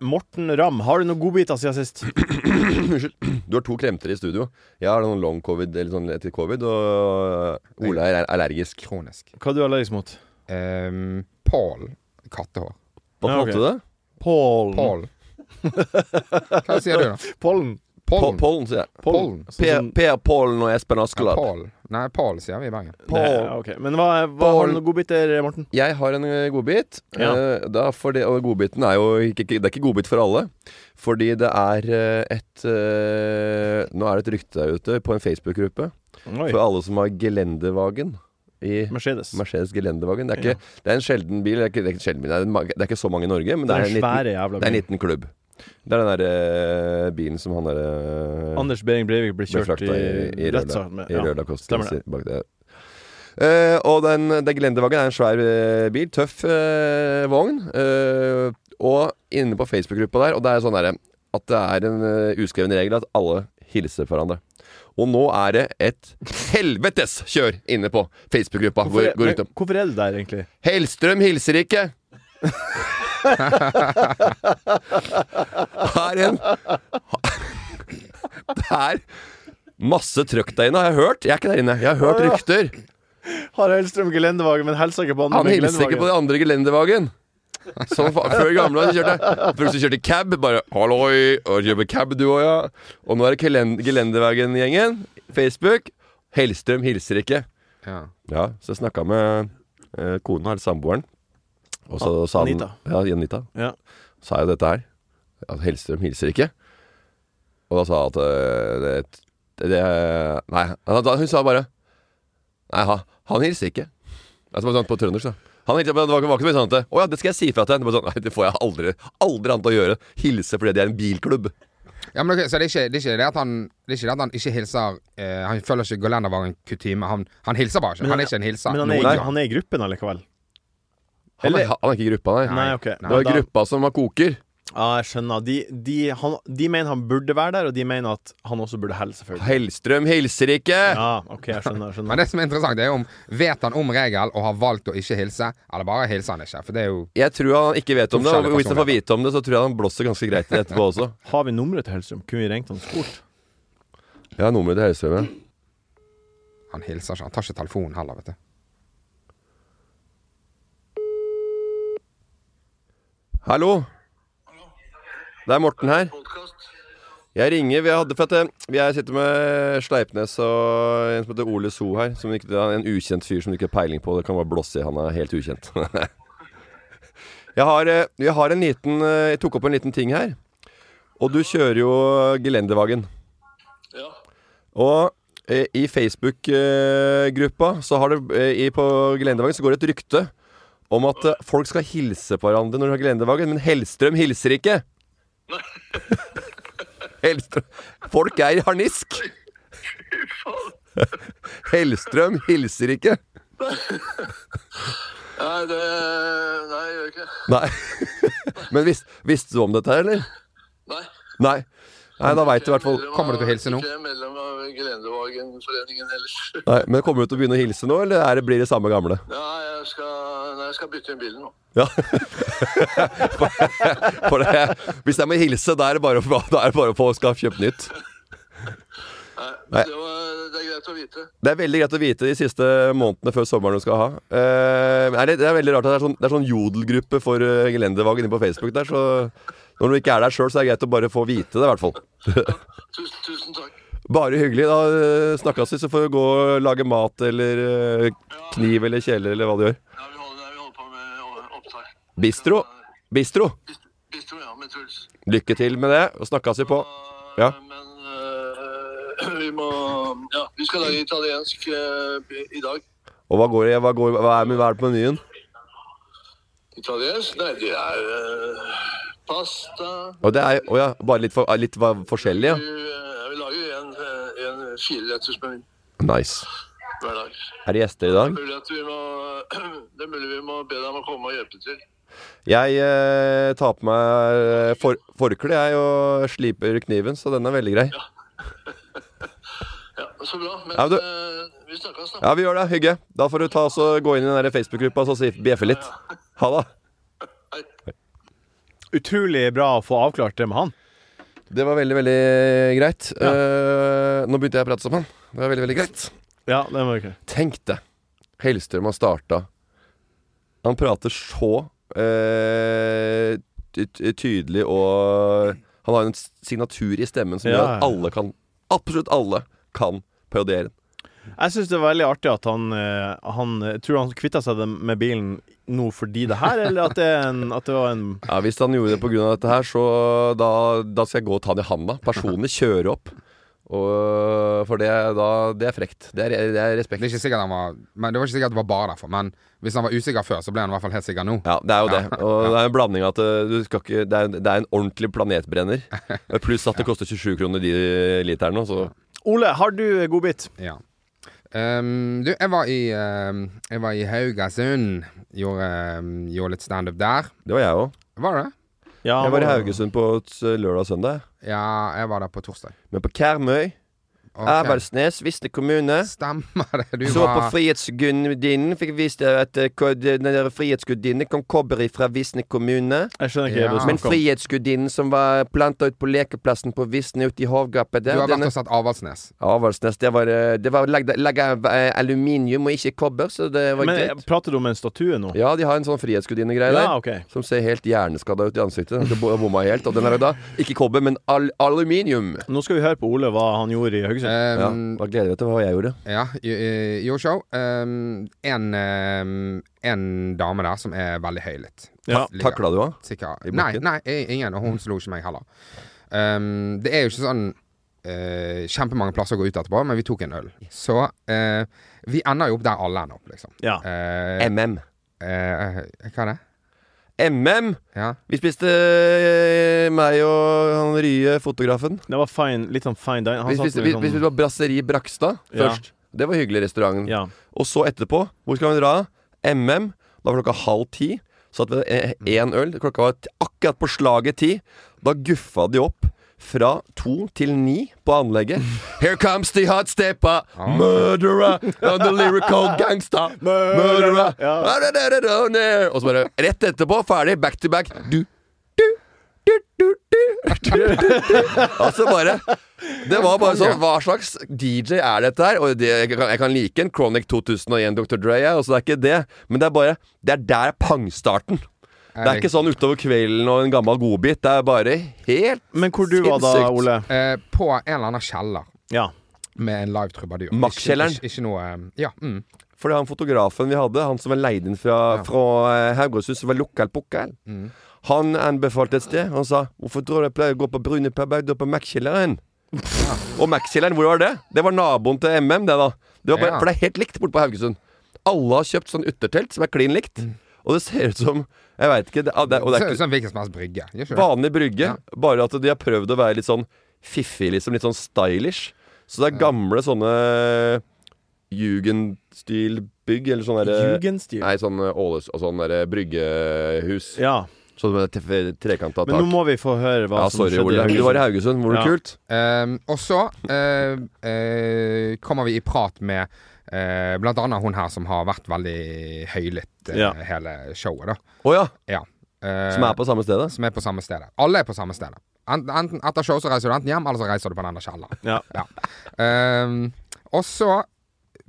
B: Morten Ramm, har du noen godbiter siden sist?
C: Unnskyld. Du har to kremter i studio. Jeg har noen long covid eller sånn etter covid, og Ola er allergisk.
E: Kronisk.
B: Hva er du allergisk mot?
E: Um, Pål. Kattehår.
C: Hva
B: Ja,
C: kalte
B: ok.
C: du det?
B: Pollen.
E: Pål. Hva sier du, da?
B: Pollen.
C: Po-
E: Pollen.
C: Pollen, sier jeg.
E: Pollen.
B: Sånn som-
C: Per Pollen og Espen
E: Ja,
C: Askeladd.
E: Pål. Nei, Pål sier vi i Bergen.
B: Det-
C: Pollen.
B: ja, ok. Men hva, hva har du noen godbiter, Morten?
C: Jeg har en eh, godbit.
B: Ja.
C: Eh, da for det, og godbiten er jo ikke, ikke- Det er ikke godbit for alle. Fordi det er eh, et eh, Nå er det et rykte der ute på en Facebook-gruppe
B: Oi.
C: for alle som har Gelendewagen i
B: Mercedes.
C: Mercedes Gelendewagen. Det er, ikke, det er en sjelden bil. Det er ikke, det er ikke, en sjelden bil. Det, er en, ma- det er ikke så mange i Norge, men det er en liten,
B: svære jævla
C: det er en
B: bil.
C: liten klubb. Det er den der eh, bilen som han derre
B: Anders Behring Breivik blir
C: ble
B: kjørt
C: frakta
B: i,
C: i, i
B: rettssak med. Ja.
C: Røla
B: stemmer det.
C: bak det. Eh, og den, den gelendervognen er en svær eh, bil. Tøff eh, vogn. Eh, og inne på Facebook-gruppa der Og det er sånn derre at det er en eh, uskreven regel at alle hilser på hverandre. Og nå er det et helvetes kjør inne på Facebook-gruppa.
B: Hvorfor, Ah,
C: Hvor,
B: er-
C: går
B: men
C: ut om
B: hvorfor er det der, egentlig?
C: Hellstrøm hilser ikke! Her en Det er masse trøkk der inne, har jeg hørt. Jeg er ikke der inne. Jeg har hørt rykter.
B: Har Hellstrøm gelendervagen, men hilser ikke på andre
C: Han
B: med
C: hilser
B: gelendervagen.
C: ikke på de andre gelendervagen. Som fa- før i gamle dager så kjørte Før så kjørte cab. Bare 'halloi', og kjøper cab du òg, ja. Og nå er det gelen- Gelendervagen-gjengen. Facebook. Hellstrøm hilser ikke.
E: Ja.
C: Ja, så jeg snakka med eh, kona, eller samboeren. Og så
B: An-
C: sa han
B: Ah, Anita.
C: Ja, Anita.
B: Ja.
C: Sa jo dette her. At Hellstrøm hilser ikke. Og da sa hun at eh, det, det Nei, da- da- hun sa bare Nei, ha, han hilser ikke. Det er som sånn på trøndersk, da. Han hilser, men det var ikke- var ikke så mye sånn at Å ja, det skal jeg si fra til henne. Bare Sånn, nei, det får jeg aldri Aldri an til å gjøre. Hilse fordi det er en bilklubb.
E: Ja, men ok, så det er, ikke, det, er ikke det, at han, det er ikke det at han ikke hilser eh, Han følger ikke Golandervagen-kutyme. Han, han hilser bare ikke. han er ikke en hilser.
B: Men han
E: noen
B: er,
E: gang.
B: i- han er i gruppen allikevel.
C: Han er,
B: Eller-
C: han er ikke i gruppa, nei.
B: Nei, ok.
C: Det var
B: Da-
C: gruppa som var koker.
B: Ja, Ah, jeg skjønner. De, de, han, de mener han burde være der, og de mener at han også burde helle, selvfølgelig.
C: Hellstrøm hilser ikke!
B: Ja, OK, jeg skjønner. jeg
E: Men
B: skjønner
E: det som er interessant, det er om vet han om regel og har valgt å ikke hilse, eller bare hilser han ikke. For det er jo
C: Jeg tror han ikke vet om det, og
E: Forskjellige
C: hvis han får
E: personligheter.
C: vite om det, så tror jeg han blåser ganske greit i det etterpå også.
B: Har vi nummeret til Hellstrøm? Kunne vi ringt han og spurt?
C: Jeg har nummeret til Hellstrøm, ja.
E: Han hilser ikke. Han tar ikke telefonen heller, vet du.
C: Hallo? Det er Morten her. Jeg ringer vi hadde, for at eh, vi er- sitter med Sleipnes og en som heter Ole So her. Som ikke, det er en ukjent fyr som du ikke har peiling på. Det kan bare blåse i. Han er helt ukjent. jeg, har, eh, jeg har en liten eh, Jeg tok opp en liten ting her. Og du kjører jo gelendervagen. Og eh, i Facebook-gruppa så har det, eh, i- på gelendervagen så går det et rykte om at eh, folk skal hilse på hverandre når de har gelendervagen, men Hellstrøm hilser ikke. Hellstrøm. Folk er i harnisk. Hellstrøm hilser ikke.
F: Nei, det Nei, jeg gjør ikke det.
C: Nei. Men vis, visste du om dette, her, eller?
F: Nei.
C: Nei. Nei, da veit du i hvert fall
E: Kommer du til å hilse nå?
F: Ikke er medlem av Gelendevagenforeningen heller.
C: Nei, Men kommer du til å begynne å hilse nå, eller er det, blir det samme gamle?
F: Nei, jeg skal, nei, jeg skal bytte inn bilen nå.
C: Ja. For det, hvis jeg må hilse, da er det bare å, da er det bare å få skal kjøpe nytt.
F: Nei,
C: Nei.
F: Det, var, det det er greit å vite.
C: Det er veldig greit å vite de siste månedene før sommeren du skal ha. Eh, er det, det er veldig rart at det er sånn, det er sånn jodelgruppe for uh, gelendervag inne på Facebook der, så når du ikke er der sjøl, så er det greit å bare få vite det, i hvert fall.
F: Tusen, tusen takk.
C: Bare hyggelig. Da eh, snakkes vi, så får du gå og lage mat eller eh, kniv eller kjeler eller hva du gjør.
F: Ja, vi holder, vi holder på med å- opptak.
C: Bistro. Bistro.
F: Bist- Bistro, ja, med Truls.
C: Lykke til med det, og snakkes vi på. Ja.
F: Men eh, vi må Ja, vi skal lage italiensk eh, i dag.
C: Og hva, går, det- hva, går, hva, er, hva er det på menyen?
F: Italiensk? Nei, det er eh, pasta
C: Og det er, å ja, bare litt, for, litt hva- forskjellig, ja.
F: Vi, eh, vi lager jo en, eh, en firerettersmeny
C: Nice.
F: hver dag.
C: Er det gjester i dag?
F: Mulig at vi må, det er mulig vi må be dem å komme og hjelpe til.
C: Jeg eh, tar på meg eh, for, forkle jeg, og sliper kniven, så den er veldig grei.
F: Ja, Så bra. Men
C: Ja, du-
F: eh, vi snakkes, da.
C: Ja, vi gjør det. Hygge. Da får du ta oss og gå inn i den der Facebook-gruppa og så si bjeffe litt. Ha det.
B: Utrolig bra å få avklart det med han.
C: Det var veldig, veldig greit. Eh, nå begynte jeg å prate sammen. Det var veldig, veldig greit.
B: Ja, det var ikke
C: Tenk det. Hellstrøm har starta. Han prater så eh, ty- ty- tydelig og Han har en s- signatur i stemmen som
B: Ja,
C: gjør at
B: ja.
C: alle kan Absolutt alle kan parodiere den.
B: Jeg syns det er veldig artig at han, eh, han jeg Tror han kvitta seg dem- med bilen nå fordi det her, eller at det, er en, at det var en
C: Ja, Hvis han gjorde det pga. dette her, så da, da skal jeg gå og ta han i handa. Personlig kjøre opp. Og, for det, da, det er frekt. Det er, det er respekt.
E: Det er ikke sikkert han var Men det var ikke sikkert det var bare derfor. Men hvis han var usikker før, så ble han i hvert fall helt sikker nå.
C: Ja, det er jo det. Og det er en blanding av at eh, du skal ikke, det, er, det er en ordentlig planetbrenner. Pluss at det koster 27 kroner de literne. Så
B: Ole, har du godbit?
E: Ja. Ehm, du, jeg var i ehm, Jeg var i Haugesund. Gjorde, ehm, gjorde litt standup der.
C: det var jeg òg.
E: Var det det?
B: Ja,
C: Jeg var i Haugesund på s- lørdag og søndag.
E: Ja, jeg var der på torsdag.
C: Men på Karmøy,
E: Ok.
C: Avaldsnes, Visste kommune.
E: Stemmer det. Du
C: Så på
E: var
C: Frihetsgudinnen. Fikk vist at eh, ko- den der Frihetsgudinnen kom kobber fra Visne kommune.
B: Jeg skjønner ikke
E: Ja.
B: hva du
C: Men
B: snakker om.
C: Frihetsgudinnen som var planta ut på lekeplassen på Visne ute i havgapet
E: Du
C: der
E: har vært
C: denne-
E: og sett Avaldsnes.
C: Avaldsnes, det var, eh, det var lagd lagd av eh, aluminium og ikke kobber, så det var
B: Men
C: greit.
B: prater du om en statue nå?
C: Ja, de har en sånn frihetsgudinne-greie der.
B: Ja, ok.
C: Som ser helt hjerneskada ut i ansiktet. Den bo- bomma helt. Og den er da ikke kobber, men al aluminium.
B: Nå skal vi høre på Ole hva han gjorde i Haugesund.
C: Ja,
E: Um,
C: da gleder jeg meg til hva jeg gjorde.
E: Ja, i- i- gjorde show. Ehm, en, ehm, en dame der som er veldig høylytt.
B: Ja,
E: Ligger
C: Takla du henne?
E: sikkert-
C: i
E: Nei,
C: bakken?
E: nei, i- ingen. Og hun slo ikke meg heller. Ehm, det er jo ikke sånn eh, kjempemange plasser å gå ut etterpå, men vi tok en øl. Så eh, vi ender jo opp der alle ender opp, liksom.
B: Ja.
E: Eh,
C: MM.
E: eh, hva er det?
C: MM!
E: Ja.
C: Vi spiste eh, meg og han Rye, fotografen.
B: Det var fine, litt sånn fine dine. Han
C: Vi
B: satt
C: spiste, vi,
B: litt
C: vi spiste
B: sånn
C: på Brasseri Brakstad
B: Ja.
C: først. Det var hyggelig restaurant.
B: Ja.
C: Og så etterpå, hvor skal vi dra? MM. Da var klokka halv ti. Satt vi
B: Mm.
C: én øl. Klokka var t- akkurat på slaget ti. Da guffa de opp fra to til ni på anlegget. Here comes the hot stepper, murderer and the lyrical gangster. Murderer.
B: Ja.
C: Og så bare rett etterpå, ferdig, back to back. Du, du, du, du, du, du, du. Altså bare det var bare sånn, Hva slags DJ er dette her? Og det, jeg, kan, jeg kan like en Chronic 2001 Dr. Dre, jeg, altså det er ikke det. Men det er bare Det er der pangstarten. Det er ikke sånn utover kvelden og en gammel godbit. Det er bare helt
B: Men hvor du var da,
C: Sinnssykt.
B: Ole?
E: Eh, på en eller annen kjeller
B: Ja.
E: med en live trubadur.
C: Max-kjelleren?
E: Ikke, ikke, ikke noe eh, Ja. Mm.
C: Fordi han fotografen vi hadde, han som var leid inn fra, fra eh, Haugesund, som var lokal pukkel,
E: Mm.
C: han anbefalte et sted. Han sa 'Hvorfor tror du jeg pleier å gå på Brune Pabaudo på Mac-kjelleren?' Og Mac-kjelleren, hvor var det? Det var naboen til MM, det, da. Det var bare,
E: Ja.
C: For det er helt likt borte på Haugesund. Alle har kjøpt sånn yttertelt som er klin likt,
E: Mm.
C: og det ser ut som Jeg veit ikke. Det, ah, det, og det
E: Ser
C: er
E: ut
C: ikke
E: som en hvilken som helst brygge. Gjør ikke det?
C: vanlig brygge, bare at de har prøvd å være litt sånn fiffig, liksom. Litt sånn stylish. Så det er gamle sånne jugendstilbygg, eller sånne derre
B: Jugendstil.
C: Nei, sånn eh, Åles og sånn der eh, bryggehus.
B: Ja.
C: Sånn med te- trekanta
B: Men nå
C: tak.
B: må vi få høre hva
C: Ja,
B: som
C: sorry,
B: skjedde. i
C: Ole.
B: Haugesund.
C: Du var i Haugesund. Var det
B: Ja.
C: kult?
E: Ehm, og så eh, eh, kommer vi i prat med eh, blant annet hun her som har vært veldig høylytt eh,
B: Ja.
E: hele showet, da.
C: Å ja!
E: Ja. Eh,
C: Som er på samme stedet?
E: som er på samme stedet. Alle er på samme stedet. Enten, enten etter show så reiser du enten hjem, eller så reiser du på den der kjelleren.
B: Ja.
E: Ja. Ehm, Og så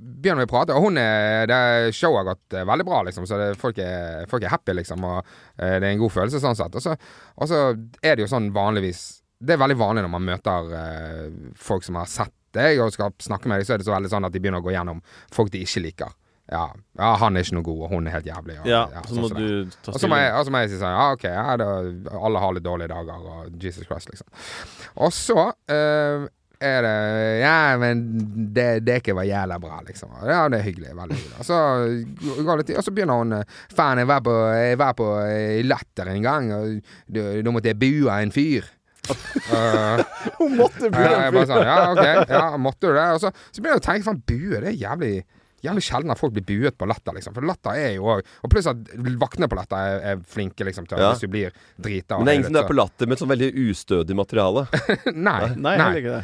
E: begynner vi å prate, og hun er, det showet har gått eh, veldig bra, liksom, så det, folk, er, folk er happy, liksom, og eh, det er en god følelse sånn sett. Og så, og så er det jo sånn vanligvis Det er veldig vanlig når man møter eh, folk som har sett deg og skal snakke med deg, så er det så veldig sånn at de begynner å gå gjennom folk de ikke liker. Ja, ja han er ikke noe god, og hun er helt jævlig. Og,
B: Ja,
E: ja,
B: så
E: sånn
B: må
E: som det.
B: du ta
E: Og så må jeg,
B: stilling.
E: og så må jeg si sånn Ja, ok, ja, da, alle har litt dårlige dager, og Jesus Christ, liksom. Og så eh, er det Ja, men det, det er ikke var jævla bra, liksom. Og Ja, det er hyggelig. Veldig hyggelig. Og så går det tid, og så begynner hun eh, Faen, jeg var på, jeg var på eh, Latter en gang, og da- da måtte jeg bue en fyr. Eh,
B: Hun måtte bli
E: ja, jeg bare sånn, ja, ok, ja, måtte du det? Og så, så begynner jeg å tenke, faen, bue, det er jævlig Jævlig sjelden at folk blir buet på latter, liksom. For latter er jo òg Og pluss at vaktene på latter er, er flinke, liksom, til
C: Ja.
E: hvis du blir drita.
C: Men det er ingen som er på latter med et sånn veldig ustødig materiale.
E: Nei.
B: Nei,
E: nei.
B: heller ikke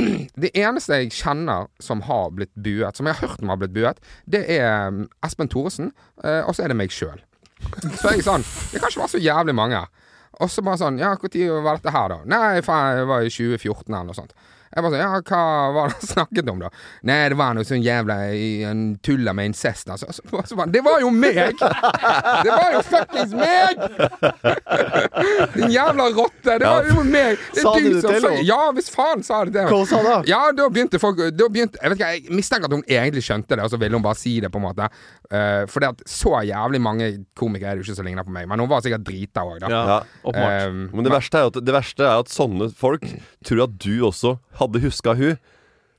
B: det.
E: Det eneste jeg kjenner som har blitt buet, som jeg har hørt om har blitt buet, det er mm, Espen Thoresen, eh, og så er det meg sjøl. Så jeg er sånn Det kan ikke være så jævlig mange. Og så bare sånn Ja, når var dette her, da? Nei, faen, det var i 2014 eller noe sånt. Jeg bare sånn Ja, hva var det han snakket om, da? Nei, det var noe sånn jævla i- en tulla med incest, altså. Så, så, så, bare, det var jo meg! Det var jo fuckings meg! Din jævla rotte! Det var jo meg! Det er
B: Sa du det
E: som
B: til
E: sa-
B: henne?
E: Ja, hvis faen sa det til meg.
B: Hva sa han da?
E: Ja, da begynte folk da begynte, Jeg vet ikke, jeg mistenker at hun egentlig skjønte det, og så ville hun bare si det, på en måte. Eh, for det at så jævlig mange komikere er det jo ikke som ligner på meg, men hun var sikkert drita òg, da.
B: Ja,
C: Ja. ehm,
B: åpenbart.
E: Eh,
C: Men det verste, er jo at, det verste er at sånne folk tror at du også hadde huska hun.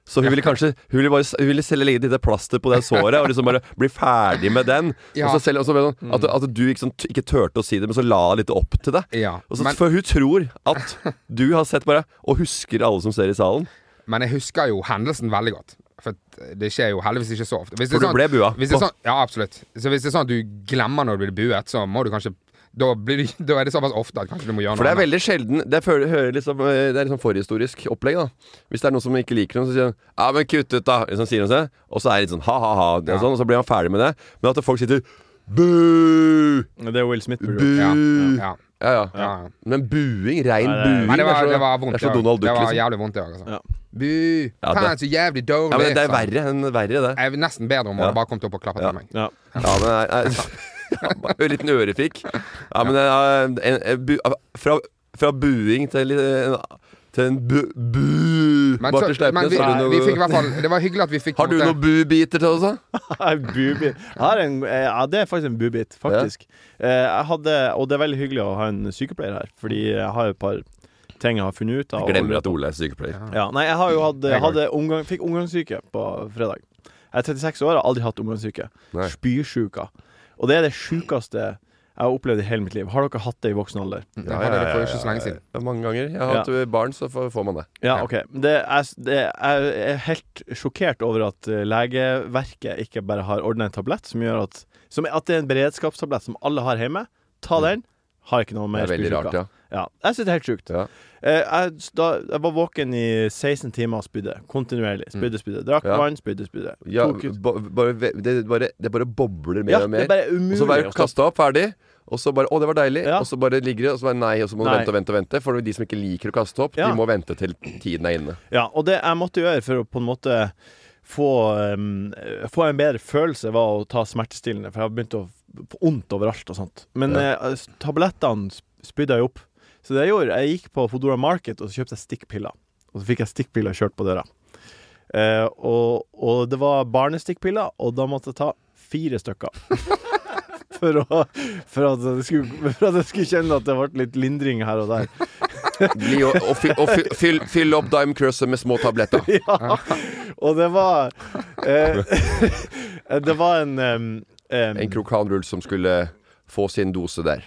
C: Så hun ville kanskje Hun ville, bare, hun ville selv legge et lite plaster på det såret og liksom bare bli ferdig med den.
E: Ja. Mm.
C: Og så selv, og så ble det sånn at, at du ikke, sånn, t- ikke turte å si det, men så la litt opp til det.
E: Ja,
C: Og så,
E: men-
C: for hun tror at du har sett bare og husker alle som ser i salen.
E: Men jeg husker jo hendelsen veldig godt. For det skjer jo heldigvis ikke så ofte. Hvis det
C: For
E: er
C: du ble bua
E: Hvis det er
C: på.
E: sånn, ja, absolutt. Så hvis det er sånn at du glemmer når du blir buet, så må du kanskje Da, blir du, da er det såpass ofte at kanskje du må gjøre noe
C: For det er
E: annet.
C: veldig sjelden Det, føler, hører liksom, eh, det er liksom forhistorisk opplegg, da. Hvis det er noen som ikke liker noen, så sier han 'ja, men kutt ut', da. Liksom, sier han seg. Og så er det litt sånn ha-ha-ha, og, sånn, og så blir han ferdig med det. Men at folk sitter 'bu',
B: Det er Will Smith. bror.
C: 'bu'
E: Ja,
C: ja,
E: ja,
C: ja.
E: ja.
C: Men buing,
B: Nei, det
C: rein
B: er-
C: buing
E: Men det var,
C: er så-
E: det var vondt.
C: Det er så Donald
E: det
C: Duck,
E: var
C: liksom.
E: jævlig vondt, det òg. Altså.
B: Ja.
E: Bu!
C: Ja, det-
E: Faen, så jævlig dårlig! altså.
C: Ja, men det er
E: sa han.
C: verre enn verre, det.
E: Jeg er nesten bedre om hun
C: Ja.
E: hadde bare kommet opp og klappet
C: Ja.
E: til meg.
B: Ja.
C: Ja, men nei, nei. Ja, bare En liten ørefik. Ja, men eh, en, en, bu, fra, fra buing til eh, en, til en bu, bu
E: Men,
C: Bare til
E: så, men
C: sleipnes.
E: vi,
C: Har du
E: vi fikk i
C: noe-
E: hvert fall Det var hyggelig at vi fikk
C: har du noen bu-biter til oss, da?
B: Nei, boobie. Jeg har en, eh, ja, det er faktisk en boobit, faktisk. Eh, Jeg hadde, og det er veldig hyggelig å ha en sykepleier her, fordi jeg har et par ting jeg har funnet ut av.
C: Jeg glemmer at Ole er sykepleier.
B: Ja, nei, jeg har jo hatt
E: Jeg
B: jeg hadde omgang, Fikk omgangssyke på fredag. Jeg er 36 år og har aldri hatt omgangssyke.
C: Nei.
B: Spysjuka. Og det er det sjukeste jeg har opplevd i hele mitt liv. Har dere hatt det i voksen alder?
E: Jeg hadde det for ikke så lenge siden.
C: Ja, mange ganger. Jeg har
B: Ja.
C: hatt eh, barn, så får får man det.
B: Ja,
E: Ja.
B: OK. Det er, det er, jeg er helt sjokkert over at eh, Legeverket ikke bare har ordna en tablett som gjør at som, At det er en beredskapstablett som alle har hjemme. Ta den. Har ikke noe
C: Mm. Det
B: mer
C: er veldig
B: spysjuka.
C: rart, ja.
B: Ja, jeg synes det er helt sjukt.
C: Ja.
B: Eh, jeg, da, jeg var våken i 16 timer og spydde. Kontinuerlig. Spydde, spydde. Drakk
C: Mm. Ja.
B: vann, spydde, spydde.
C: ja
B: Tok ut-
C: ba, bare, ve- det, bare, det bare bobler mer
B: Ja,
C: og
B: det
C: mer.
B: er bare
C: Og
B: umulig.
C: så bare
B: å stoppe.
C: kasta opp, ferdig. Og så bare 'Å, det var deilig'.
B: Ja.
C: Og så bare ligger det, og så bare nei. Og så må du
B: Nei.
C: vente og vente og vente. For de som ikke liker å kaste opp,
B: Ja.
C: de må vente til tiden er inne.
B: Ja, og det jeg måtte gjøre for å på en måte få, um, få en bedre følelse, var å ta smertestillende, for jeg har begynt å få vondt overalt og sånt. Men eh, s- tablettene sp- spydde jeg opp. Så det jeg gjorde, jeg gikk på Fodora Market og så kjøpte jeg stikkpiller. Og så fikk jeg stikkpiller kjørt på døra. Eh, og, og det var barnestikkpiller, og da måtte jeg ta fire stykker. For, å, for, at jeg skulle, for at jeg skulle kjenne at det ble litt lindring her og der.
C: Bli og, og, fyll, og fyll, fyll, fyll opp Dime Crusset med små tabletter.
B: Ja. Og det var eh, Det var en eh, em, em,
C: En krokanrull som skulle få sin dose der.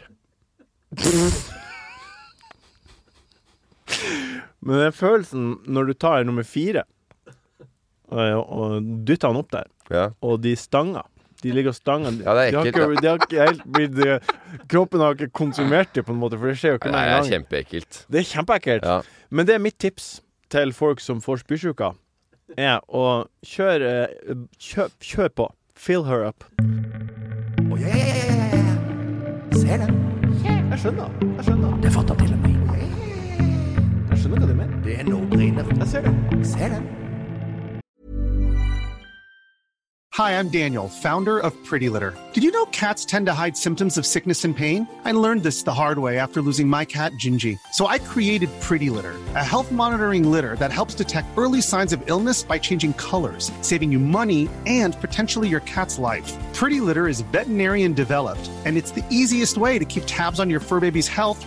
B: Men den følelsen når du tar nummer fire eh, og dytter han opp der,
C: Ja.
B: og de stanger de ligger og stanger.
C: Ja, det er ekkelt,
B: de har ikke, de har ikke helt blitt eh, Kroppen har ikke konsumert det, på en måte, for det skjer jo ikke
C: Nei,
B: med
C: det
B: en
C: er
B: gang.
C: kjempeekkelt.
B: Det er kjempeekkelt.
C: Ja.
B: Men det er mitt tips til folk som får spysjuka, er å kjøre eh, Kjør, kjør på. Fill her up. Oh,
D: Ser den.
B: Jeg skjønner. Jeg skjønner.
D: Det fatter til og med.
B: Jeg skjønner hva du mener.
D: Det er no-brainer.
B: Jeg ser det.
D: Ser den.
I: Hi, I'm Daniel, founder of Pretty Litter. Did you know cats tend to hide symptoms of sickness and pain? I learned this the hard way after losing my cat, Gingy. So I created Pretty Litter, a health monitoring litter that helps detect early signs of illness by changing colors, saving you money and potentially your cat's life. Pretty Litter is veterinarian developed, and it's the easiest way to keep tabs on your fur baby's health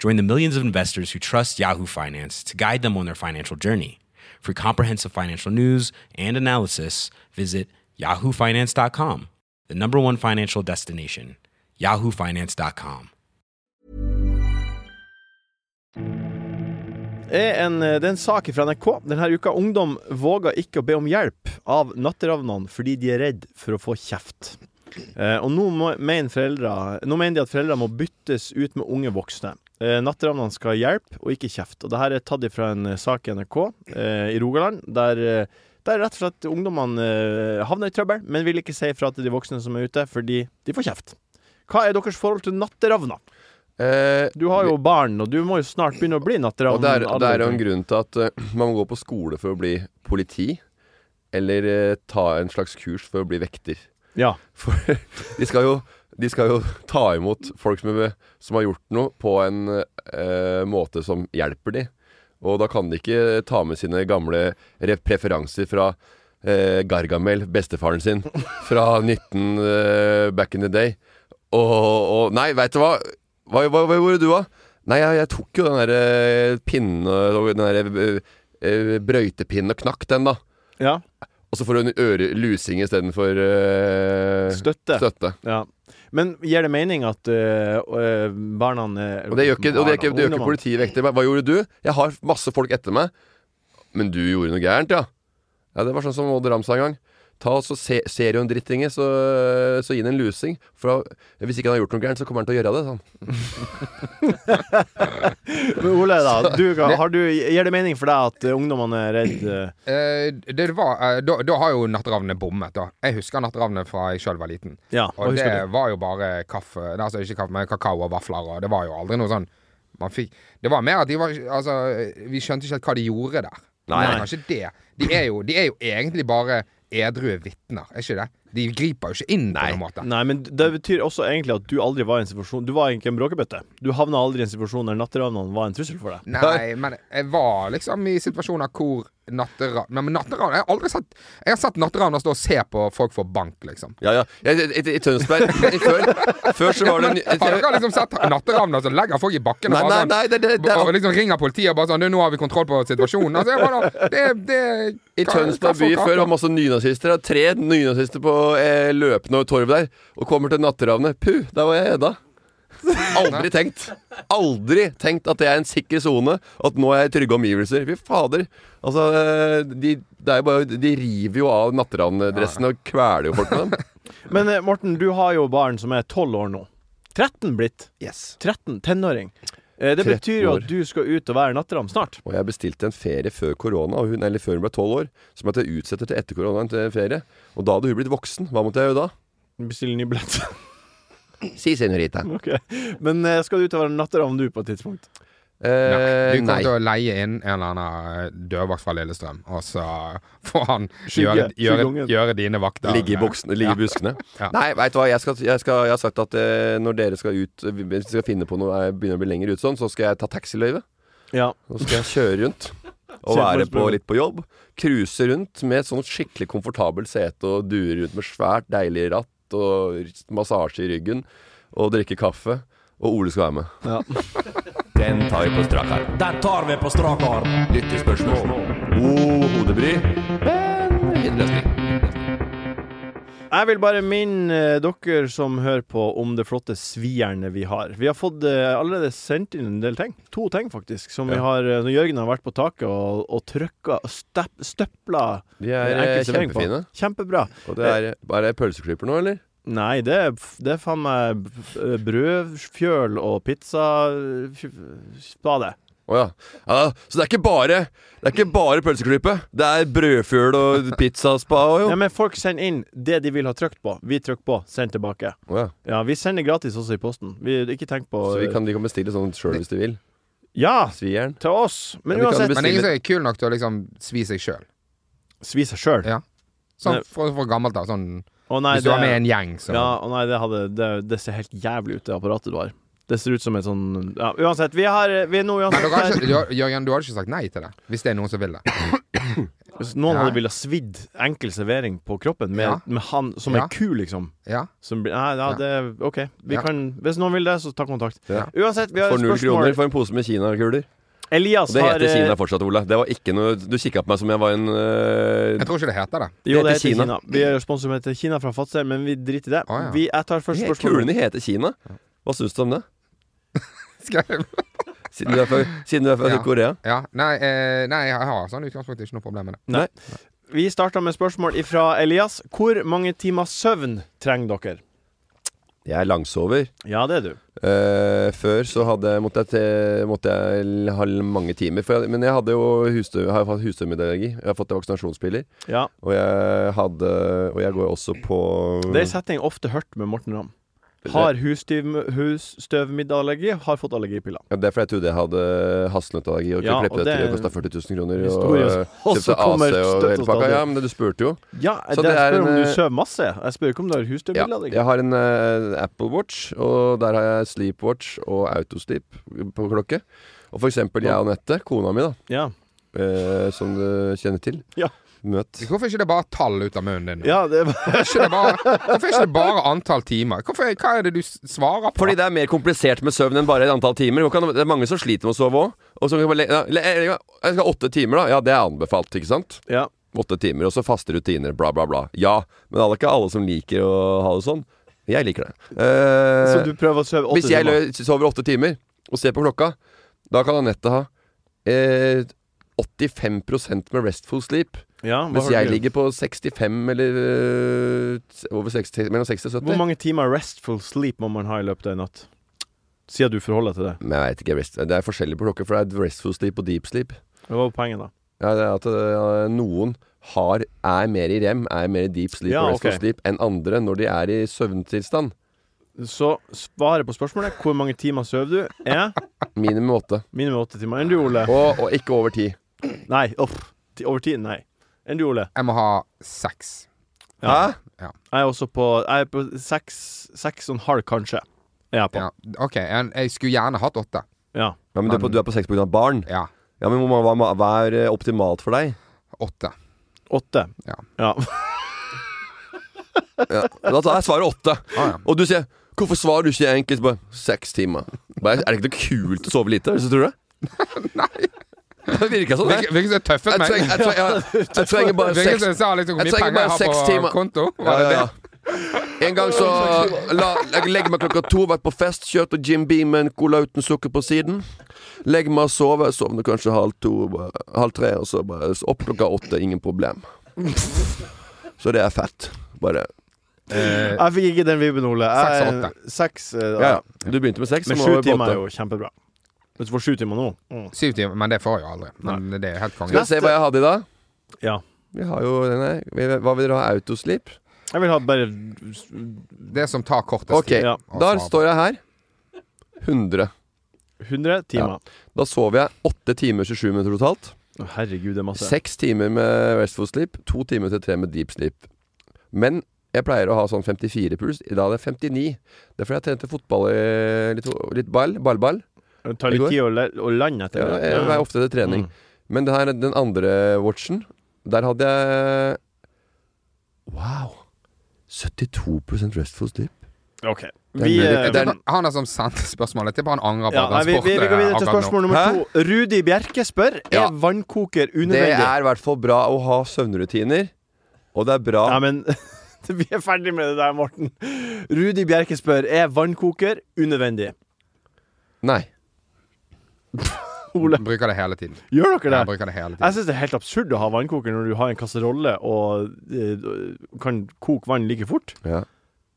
G: Join the millions of investors who trust Yahoo Finance to guide them on their financial journey. For comprehensive financial news and analysis, visit yahoofinance.com, the number one financial destination, yahoofinance.com.
B: er en, eh, det er en sak fra NRK denne uka. Ungdom våger ikke å be om hjelp av natteravnene fordi de er redd for å få kjeft. Eh, og nå, må, mener foreldre, nå mener de at foreldre må byttes ut med unge voksne. Eh, natteravnene skal ha hjelp og ikke kjeft. Og det her er tatt fra en eh, sak i NRK eh, i Rogaland, der, eh, der rett og slett ungdommene eh, havner i trøbbel, men vil ikke si fra til de voksne som er ute, fordi de får kjeft. Hva er deres forhold til natteravner?
C: Eh,
B: Du har jo barn, og du må jo snart begynne å bli natteravn.
C: og det er, det er jo en grunn til at eh, man må gå på skole for å bli politi, eller eh, ta en slags kurs for å bli vekter.
B: Ja.
C: For de skal jo, de skal jo ta imot folk som, er- som har gjort noe, på en eh, måte som hjelper de. Og da kan de ikke ta med sine gamle re- preferanser fra eh, Gargamel, bestefaren sin, fra 19 eh, back in the day. Og, og Nei, veit du hva? Hva, hva, hva gjorde du, da? Nei, jeg, jeg tok jo den derre pinnen og Den derre eh, brøytepinnen og knakk den, da.
B: ja.
C: Og så får hun øre, lusing istedenfor uh,
B: Støtte.
C: støtte.
B: Ja. Men gir det mening at øh, øh, barna
C: Og det gjør ikke, og det gjør ikke, det gjør ikke politiet vekter. Hva gjorde du? Jeg har masse folk etter meg. Men du gjorde noe gærent, ja. Ja, Det var sånn som Odd Ram sa en gang. Ta og så se, Ser du en drittinge, så, så gi ham en lusing. For da, hvis ikke han har gjort noe gærent, så kommer han til å gjøre det. Sånn.
B: Men Ole, da. Du, har du, gir det mening for deg at øh, ungdommene er redd øh,
E: Eh, det var, eh, da, da har jo Natteravnene bommet, da. Jeg husker Natteravnene fra jeg sjøl var liten.
B: Ja, hva
E: Og det
B: husker du?
E: var jo bare kaffe nei, Altså ikke kaffe, men kakao og vafler, og det var jo aldri noe sånn man fikk, Det var mer at de var Altså, vi skjønte ikke helt hva de gjorde der.
C: Nei.
E: Det var kanskje det. De er jo, de er jo egentlig bare edrue vitner, er ikke det? De griper jo ikke inn på noen måte.
B: Nei, men det betyr også egentlig at du aldri var i en situasjon Du var egentlig en bråkebøtte. Du havna aldri i en situasjon der natteravnene var en trussel for deg.
E: Nei, men jeg var liksom i situasjoner hvor natteravn Nei, men natteravn Jeg har aldri sett Jeg har sett natteravner stå og se på folk få bank, liksom.
C: Ja, ja. I, i, i Tønsberg i før, før så var det en-
E: Har dere liksom sett natteravner som legger folk i bakken
C: Nei,
E: og,
C: nei,
E: bare
C: nei,
E: sånn,
C: det, det, det,
E: og liksom ringer politiet og bare sånn «Du, 'Nå har vi kontroll på situasjonen'. Altså, jeg bare, det, det,
C: I Tønsberg by før var det masse nynazister. Det er Tre nynazister på eh, løpende over torvet der. Og kommer til natteravnet. Puh, der var jeg redda. Aldri tenkt. Aldri tenkt at det er en sikker sone. At nå er jeg i trygge omgivelser. Fy fader. Altså, eh, de, det er jo bare, de river jo av natteravndressene og kveler jo folk med dem.
B: Men eh, Morten, du har jo barn som er 12 år nå. 13 blitt. 13. Tenåring. Eh, det
C: 13
B: betyr jo
C: år.
B: at du skal ut og være natteravn snart.
C: Og jeg bestilte en ferie før korona, og hun, eller før hun ble tolv år, som at jeg utsetter til etter koronaen til ferie. Og da hadde hun blitt voksen. Hva måtte jeg gjøre da?
B: Bestille ny billett.
C: Si, senorita.
B: ok. Men eh, skal du ut og være natteravn du på et tidspunkt?
E: Du
C: Eh,
E: kommer
C: nei.
E: til å leie inn en eller annen eh, dørvakt fra Lillestrøm, og så får han gjøre,
B: Skygge-
E: gjøre,
B: skyggeungen.
E: gjøre dine vakter
C: Ligge i buksene, ligge i buskene.
E: Ja.
C: Nei, veit du hva, jeg, skal, jeg, skal, jeg har sagt at eh, når dere skal ut eh, Hvis vi skal finne på noe, eh, begynner å bli lenger ute sånn, så skal jeg ta taxiløyve.
B: Ja.
C: Nå skal jeg kjøre rundt og være på, litt på jobb. Cruise rundt med et sånt skikkelig komfortabelt sete og dure rundt med svært deilig ratt og massasje i ryggen og drikke kaffe. Og Ole skal være med.
D: Den tar vi på strak arm. Den tar vi på strak arm. Lyttespørsmål.
C: God hodebry.
B: Jeg vil bare minne eh, dere som hører på, om det flotte sviernet vi har. Vi har fått eh, allerede sendt inn en del ting. To ting, faktisk. Som vi har eh, Når Jørgen har vært på taket og, og trykka og step, støpla
C: De er eh,
B: enkelte ting på.
C: kjempefine.
B: Kjempebra. Eh,
C: Og det er, er det pølseklipper nå, eller?
B: Nei, det er, det er faen meg b- brødfjøl og pizzaspade.
C: Å ja. ja. Så det er ikke bare Det er ikke bare pølseklype. Det er brødfjøl og pizzaspa òg, jo.
B: Ja, men folk sender inn det de vil ha trykt på. Vi trykker på, send tilbake.
C: Å ja.
B: Ja, Vi sender gratis også i posten. Vi, ikke tenk på
C: Så vi kan, de kan bestille sånn sjøl hvis de vil.
B: Ja,
C: Svieren.
B: til oss. Men
C: Ja, vi kan
B: uansett,
C: bestille-
E: Men ingen som er kul nok til å liksom svi seg sjøl.
B: svi seg sjøl.
E: Ja. Sånn
B: Nei.
E: fra, fra gammelt av. Sånn
B: Å nei,
E: Hvis du
B: det-
E: har med en gjeng, så
B: Ja, og nei, det, hadde, det, det ser helt jævlig ut, det apparatet du har. Det ser ut som et sånn Ja, uansett. Vi, har, vi er nå
E: Men
B: uansett
E: dere har
B: her.
E: ikke, Jør- Jørgen, du hadde ikke sagt nei til det? Hvis det er noen som vil det?
B: Hvis noen
E: Ja.
B: hadde villet svidd enkel servering på kroppen med,
E: Ja.
B: med han som
E: Ja.
B: er ku, liksom.
E: Ja?
B: Som, blir- nei, ja,
E: Ja.
B: det OK. Vi
E: Ja.
B: kan, hvis noen vil det, så ta kontakt.
C: Ja.
B: Uansett, vi har
C: For
B: et
C: null kroner
B: spørsmål.
C: for en pose med kinakuler.
B: Elias
C: Og det
B: har
C: heter
B: eh,
C: Kina fortsatt, Ole. Det var ikke noe Du kikka på meg som jeg var en øh,
E: Jeg tror ikke det heter det.
B: Jo, det
C: Det
B: heter
C: heter
B: Kina. Vi er sponset med Kina fra Fatser, men vi driter i det.
E: Å, ja.
B: vi, jeg tar først
C: He-
B: spørsmålet.
C: Kulene heter Kina. Hva syns du om det?
E: Skal jeg
C: Siden du er fra, siden du er fra
E: Ja.
C: Korea.
E: Ja, nei, eh, nei, jeg har sånn utgangspunkt ikke noe problem med det.
B: Nei. Vi starter med spørsmål ifra Elias. Hvor mange timer søvn trenger dere?
C: Jeg er langsover.
B: Ja, det er du.
C: Eh, før så hadde, måtte, jeg te, måtte jeg l- ha l- mange timer. For jeg, men jeg hadde jo husdø, har fått husdømmeallergi. Jeg har fått vaksinasjonspiller.
B: Ja.
C: Og jeg hadde Og jeg går jo også på
B: Det er en setning ofte hørt med Morten Ramm. Har husstyv- husstøvmiddallergi, har fått allergipiller.
C: ja, Det er fordi jeg trodde jeg hadde hasselnøttallergi og kunne
B: Ja, og
C: klippe det til
B: det-
C: og kosta 40 000 kroner.
B: Historie,
C: eh,
B: og så
C: kjøpte
B: kommer
C: AC og
B: støtt
C: hele
B: og
C: pakka.
B: stadig.
C: Ja, men det, du spurte jo.
B: Ja, det,
C: Så det
B: jeg
C: er
B: spør
C: en,
B: om du
C: eh,
B: sover masse. Jeg spør ikke om du har
C: Ja,
B: husstøvmiddelallergi.
C: jeg har en eh, Apple Watch, og der har jeg Sleepwatch og Autosleep på klokke. Og for eksempel jeg og Anette, kona mi, da,
B: Ja.
C: eh, som du kjenner til,
B: Ja.
C: møt
E: Hvorfor er ikke det bare tall ut av munnen din?
B: Ja, det,
E: Hvorfor er ikke det bare, hvorfor er ikke det bare antall timer? Hvorfor, hva er det du s- svarer på?
C: Fordi det er mer komplisert med søvn enn bare et antall timer. Hvor kan- Det er mange som sliter med å sove òg. Og så kan du bare le- ja, le- Jeg jeg skal ha åtte timer, da. Ja, det er anbefalt, ikke sant?
B: ja.
C: Åtte timer, og så faste rutiner, bla, bla, bla. Ja, men det er ikke alle som liker å ha det sånn. Jeg liker det. Eh,
B: Så du prøver å sove åtte
C: Hvis jeg
B: timer?
C: lø- sover åtte timer og ser på klokka, da kan Anette ha eh, 85 med restful sleep.
B: Ja, hva
C: Mens
B: har
C: jeg
B: du?
C: ligger på 65 eller eh, over 60, mellom 60 og
B: Hvor
C: 70.
B: mange timer restful sleep må man ha i løpet av en natt? Siden du forholder deg til det.
C: Men jeg vet ikke, rest, Det er forskjellig på klokker, for det er restful sleep og deep sleep.
B: Hva var poenget, da?
C: Ja, det er at eh, noen har, er mer i rem, er mer i deep sleep
B: Ja,
C: og restful
B: ok.
C: sleep enn andre når de er i søvntilstand.
B: Så svaret på spørsmålet hvor mange timer sover du, er
C: Minimum åtte.
B: minimum åtte timer. Enn du, Ole?
C: Og, og ikke over ti.
B: Nei. Uff. Ti- Over tid? Nei. Enn du, Ole?
E: Jeg må ha seks.
B: Ja.
C: Hæ?
B: Jeg er også på Jeg er på seks, seks og en halv, kanskje. Er jeg på.
E: Ja. OK, jeg, jeg skulle gjerne hatt åtte.
B: Ja.
C: Ja, men du, er på- du er på seks pga. barn.
E: Ja,
C: Ja, men hvor mange- hva, hva er eh, optimalt for deg?
E: åtte.
B: Åtte.
E: Ja.
B: ja.
C: Ja. Da tar jeg svaret åtte.
E: Ah, ja.
C: Og du sier 'Hvorfor svarer du ikke enkelt?' Bare seks timer. Bare, er det ikke noe kult å sove lite? Hvis du tror det? Nei. Det virka sånn. Jeg,
E: Virker virker som tøffet
C: jeg,
E: meg.
C: trenger, jeg, trenger, jeg, jeg trenger bare
E: Virker som
C: seks
E: jeg sa liksom hvor
C: Jeg
E: mye
C: trenger
E: penger jeg
C: bare
E: har
C: seks
E: på
C: timer.
E: konto.
C: ja,
E: Var det
C: ja,
E: det?
C: ja. En gang så la, Jeg legger meg klokka to, vært på fest, kjørt og Jim Beam med en cola uten sukker på siden. Legger meg og sover, sovner kanskje halv to, bare- halv tre, og så bare så opp klokka åtte, ingen problem. Så det er fett. Bare
E: Eh,
B: Jeg fikk ikke den vibben, Ole.
E: Seks og
B: Jeg,
E: åtte.
B: seks eh,
C: Ja, ja. Du begynte med seks,
B: Men
C: så
B: sju
C: må vi på
B: timer
C: åtte.
B: er jo kjempebra. Hvis du får sju timer nå mm.
E: syv timer, men det får jeg jo aldri. Men det er helt
C: Skal
E: konge.
C: vi se hva jeg hadde i dag?
B: Ja.
C: Vi har jo denne. Vi- Hva vil dere ha? Autosleep?
B: Jeg vil ha bare
E: Det som tar kortest
C: Ok,
E: tid.
B: Ja.
C: da står jeg her. 100.
B: 100 timer.
C: Da sover jeg 8 timer og 27 minutter totalt.
B: Å, herregud, det er masse.
C: 6 timer med restful sleep, 2 timer til 3 med deep sleep. Men jeg pleier å ha sånn 54 puls. I dag hadde jeg 59. Det er fordi jeg trente fotball i litt, litt ball. Ballball.
B: Det tar litt
C: Det går.
B: tid å, le- å lande etter
C: Ja,
B: det.
C: jeg er ofte til trening.
B: Mm.
C: Men det her, den andre watchen, der hadde jeg Wow! 72 restful sleep.
B: OK.
C: er
B: Vi,
C: mulig.
B: eh,
E: Jeg tror han er som sendte spørsmålet. Jeg tipper han angrer på
B: ja,
E: at
B: nei,
E: han
B: vi, vi, vi går videre til
E: akkurat nå.
B: spørsmål nummer
C: Hæ?
B: to. Rudi Bjerke spør
C: Ja.
B: Er vannkoker
C: Det
B: unødvendig.
C: er i hvert fall bra å ha søvnrutiner. Og det er bra
B: Nei, men vi er ferdig med det der, Morten. Rudi Bjerke spør Er vannkoker unødvendig.
C: Nei.
B: Ole,
E: Bruker det hele tiden.
B: gjør dere
E: Jeg
B: det?
E: bruker det hele
B: Jeg
E: tiden.
B: syns det er helt absurd å ha vannkoker når du har en kasserolle og eh, kan koke vann like fort.
C: Ja.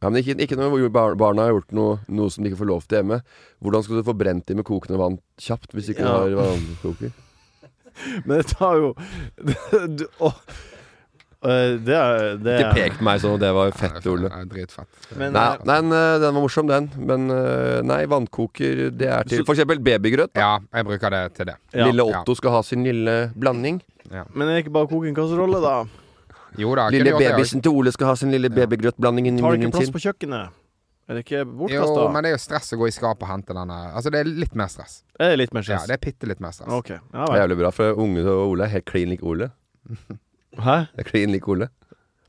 C: Ja, men ikke, ikke når bar- barna har gjort noe, noe som de ikke får lov til hjemme. Hvordan skal du få brent dem med kokende vann kjapt hvis du ikke
B: Ja.
C: har vannkoker?
B: Men det tar jo du, å, eh, Det er det
C: Ikke
B: er-
C: pek på meg sånn, det var fett, Ole.
E: Ja, dritfett.
B: Men-
C: nei, nei, den eh, den var morsom, den. Men eh, nei, vannkoker, det er til For eksempel babygrøt.
E: Ja, jeg bruker det til det.
B: eh, Ja.
C: Lille Otto skal ha sin lille blanding.
B: Men er det ikke bare å koke en kasserolle, da?
E: Jo da.
C: Lille
E: kunne gjort det også.
C: babysen til Ole skal ha sin lille babygrøtblanding i
B: Tar det
C: munnen
B: ikke plass
C: sin.
B: på kjøkkenet? Er det ikke bortkasta?
E: Jo, men det er jo stress å gå i skapet og hente denne Altså, det er litt mer stress.
B: Er det litt mer
E: Ja,
B: stress?
E: det er bitte litt mer stress.
B: Ok. Ja, vel.
C: Jævlig bra, for unge og Ole er helt klin lik Ole.
B: Hæ?
C: Det er klin lik Ole.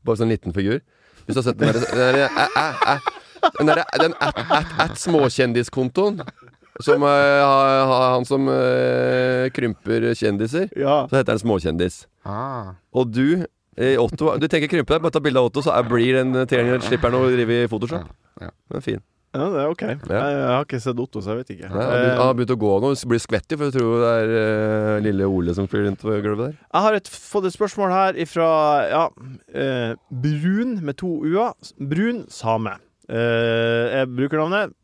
C: Bare sånn liten figur. Hvis du har sett den derre Den derre æ, æ, æ. eh, Den derre- den at, at, at småkjendiskontoen. Som eh, ha- ha- han som eh, krymper kjendiser.
B: Ja.
C: Så heter han småkjendis.
E: Ah.
C: Og du, eh, Otto Du tenker krympe deg, bare ta bilde av Otto, så er, blir den treeren slipper han å drive i Photoshop.
E: Ja, ja.
C: Den er fin.
B: ja, det er ok. Jeg, jeg har ikke sett Otto, så jeg vet ikke.
C: Nei, han har begynt- han
B: Eh,
C: har begynt å gå nå, så blir skvettig, for jeg tror det er eh, lille Ole som flyr rundt på gulvet der.
B: Jeg har et, fått et spørsmål her ifra ja, eh, Brun med to u-er. Brun same. Eh, jeg bruker navnet.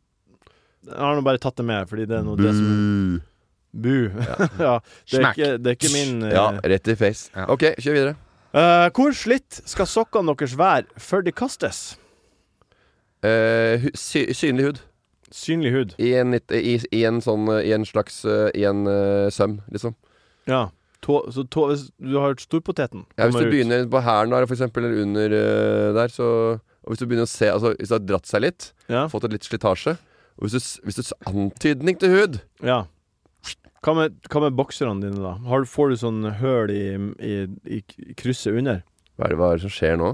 B: Jeg har nå bare tatt det med, fordi det er noe det som Bu. Ja. det, er
E: Smack.
B: ikke, det er ikke min eh,
C: Ja, rett i face.
E: Ja.
C: Ok, kjør videre.
B: eh, Hvor slitt skal sokkene deres være før de kastes?
C: Eh, hu- sy synlig hud.
B: Synlig hud.
C: I en, litt- i, i en sånn eh, I en slags eh, I en eh, søm, liksom.
B: Ja. Tå, så tå, hvis du har storpoteten
C: Ja, hvis
B: kommer
C: du
B: ut.
C: begynner på hælen der, for eksempel, eller under eh, der, så Og hvis du begynner å se Altså, hvis det har dratt seg litt,
B: ja.
C: fått et litt slitasje og hvis du, s- hvis du s- Antydning til hud!
B: ja. Hva med, hva med bokserne dine, da? Har, du- får du sånn høl i, i, i, i krysset under?
C: Hva er det, hva er det som skjer nå?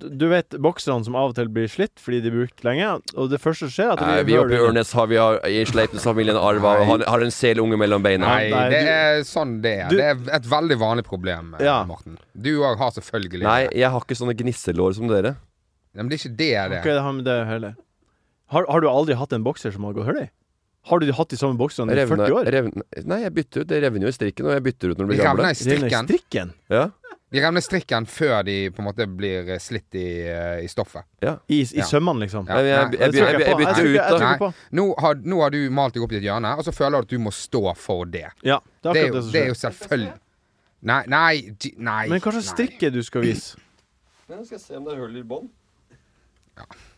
B: Du du vet bokserne som av og til blir slitt fordi de er brukt lenge, og det første som skjer, er at det
C: Nei, vi
B: blir
C: oppe i
B: høl under.
C: Ørnes har vi har, i Sleipnes-familien arva
E: Nei.
C: har, har en selunge mellom beina.
E: Nei,
B: Nei,
E: det
B: du-
E: er sånn det er.
B: Du-
E: det er et veldig vanlig problem, eh,
B: Ja.
E: Morten. Du òg har selvfølgelig
C: Nei, jeg har ikke sånne gnisselår som dere.
E: Nei, Men det er ikke det det
B: Ok, det har med det hele. Har, har du aldri hatt en bokser som har gått hull i? Har du hatt de samme bokserne i 40 år?
C: revne, nei, jeg bytter ut. Det revner jo i strikken, og jeg bytter ut når det
E: De
C: blir gamle.
E: revner i
B: Revner i
E: strikken.
B: strikken?
C: Ja,
E: De revner i strikken før de på en måte blir eh, slitt i, eh, i stoffet.
B: I, i
E: Ja.
B: sømmene, liksom?
E: Ja.
C: Nei, men jeg,
E: Nei,
C: jeg, jeg,
B: det tror
C: jeg,
B: jeg
C: jeg
B: på.
C: bytter
B: Jeg
C: ut,
B: tror ikke-
C: da.
E: Nei,
B: du på?
E: nå har, nå har du malt deg opp i et hjørne, og så føler du at du må stå for det.
B: Ja, det er
E: Det er
B: akkurat
E: jo,
B: det som
E: det er jo
B: skjer.
E: selvfølgelig Nei, nei, de- nei
B: Men hva slags
E: nei.
B: strikk er det du skal vise?
C: Nå skal jeg se om det er hull i bånn.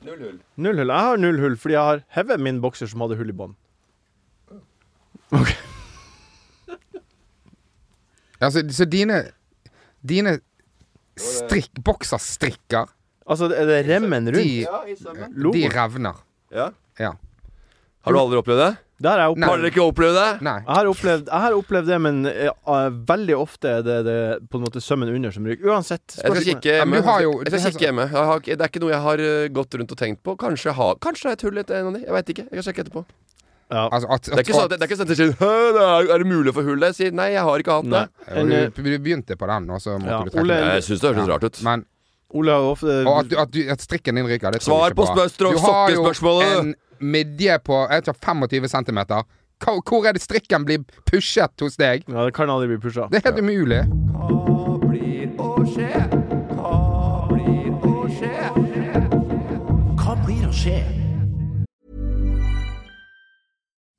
C: Null hull.
B: Null hull. Jeg har null hull fordi jeg har hevet min bokser som hadde hull i bånd.
E: Altså, så dine Dine strikk, bokserstrikker,
B: Altså, er det remmen rundt?
E: de,
C: i sømmen.
E: de
B: Logoen?
E: revner.
C: Ja.
E: Ja.
C: Har du aldri opplevd det?
B: Der har jeg
C: Har
B: opplevd
C: dere ikke opplevd det?
E: Nei.
B: jeg har, opplevd, jeg har opplevd det, men eh, eh, veldig ofte er det, det på en måte sømmen under som ryker. Uansett.
C: Jeg skal
B: spørsmålet-
C: kikke
E: Ja,
C: hjemme.
E: men du har jo-
C: jeg skal kikke hjemme. Jeg har, ikke- det er ikke noe jeg har eh, gått rundt og tenkt på. Kanskje jeg har Kanskje det er et hull etter en av de. Jeg veit ikke. Jeg kan sjekke etterpå.
B: Ja.
E: Altså, at,
C: Det er ikke sånn at det er ikke sånn at jeg sier «Hæ, det er, er det mulig å få hull der? Jeg sier nei, jeg har ikke hatt det.
B: Nei. En, eh,
E: du, du begynte på den, og så måtte
B: Ja,
E: du trekke
B: Ole-
E: den.
C: Jeg syns det hørtes rart ut.
E: Men,
B: Ole har ofte
E: og at, du- at, du, at strikken din ryker, det tror
C: Svar
E: jeg ikke
C: på
E: på.
C: spørsmål-
E: Du har jo
C: stokkespørsmålet.
E: en midje på jeg tror 25 cm. Hvor er det strikken blir pushet hos deg?
B: Ja, det kan aldri bli pusha.
E: Det er helt umulig.
D: Hva blir å skje? Hva blir å skje? Hva blir å skje?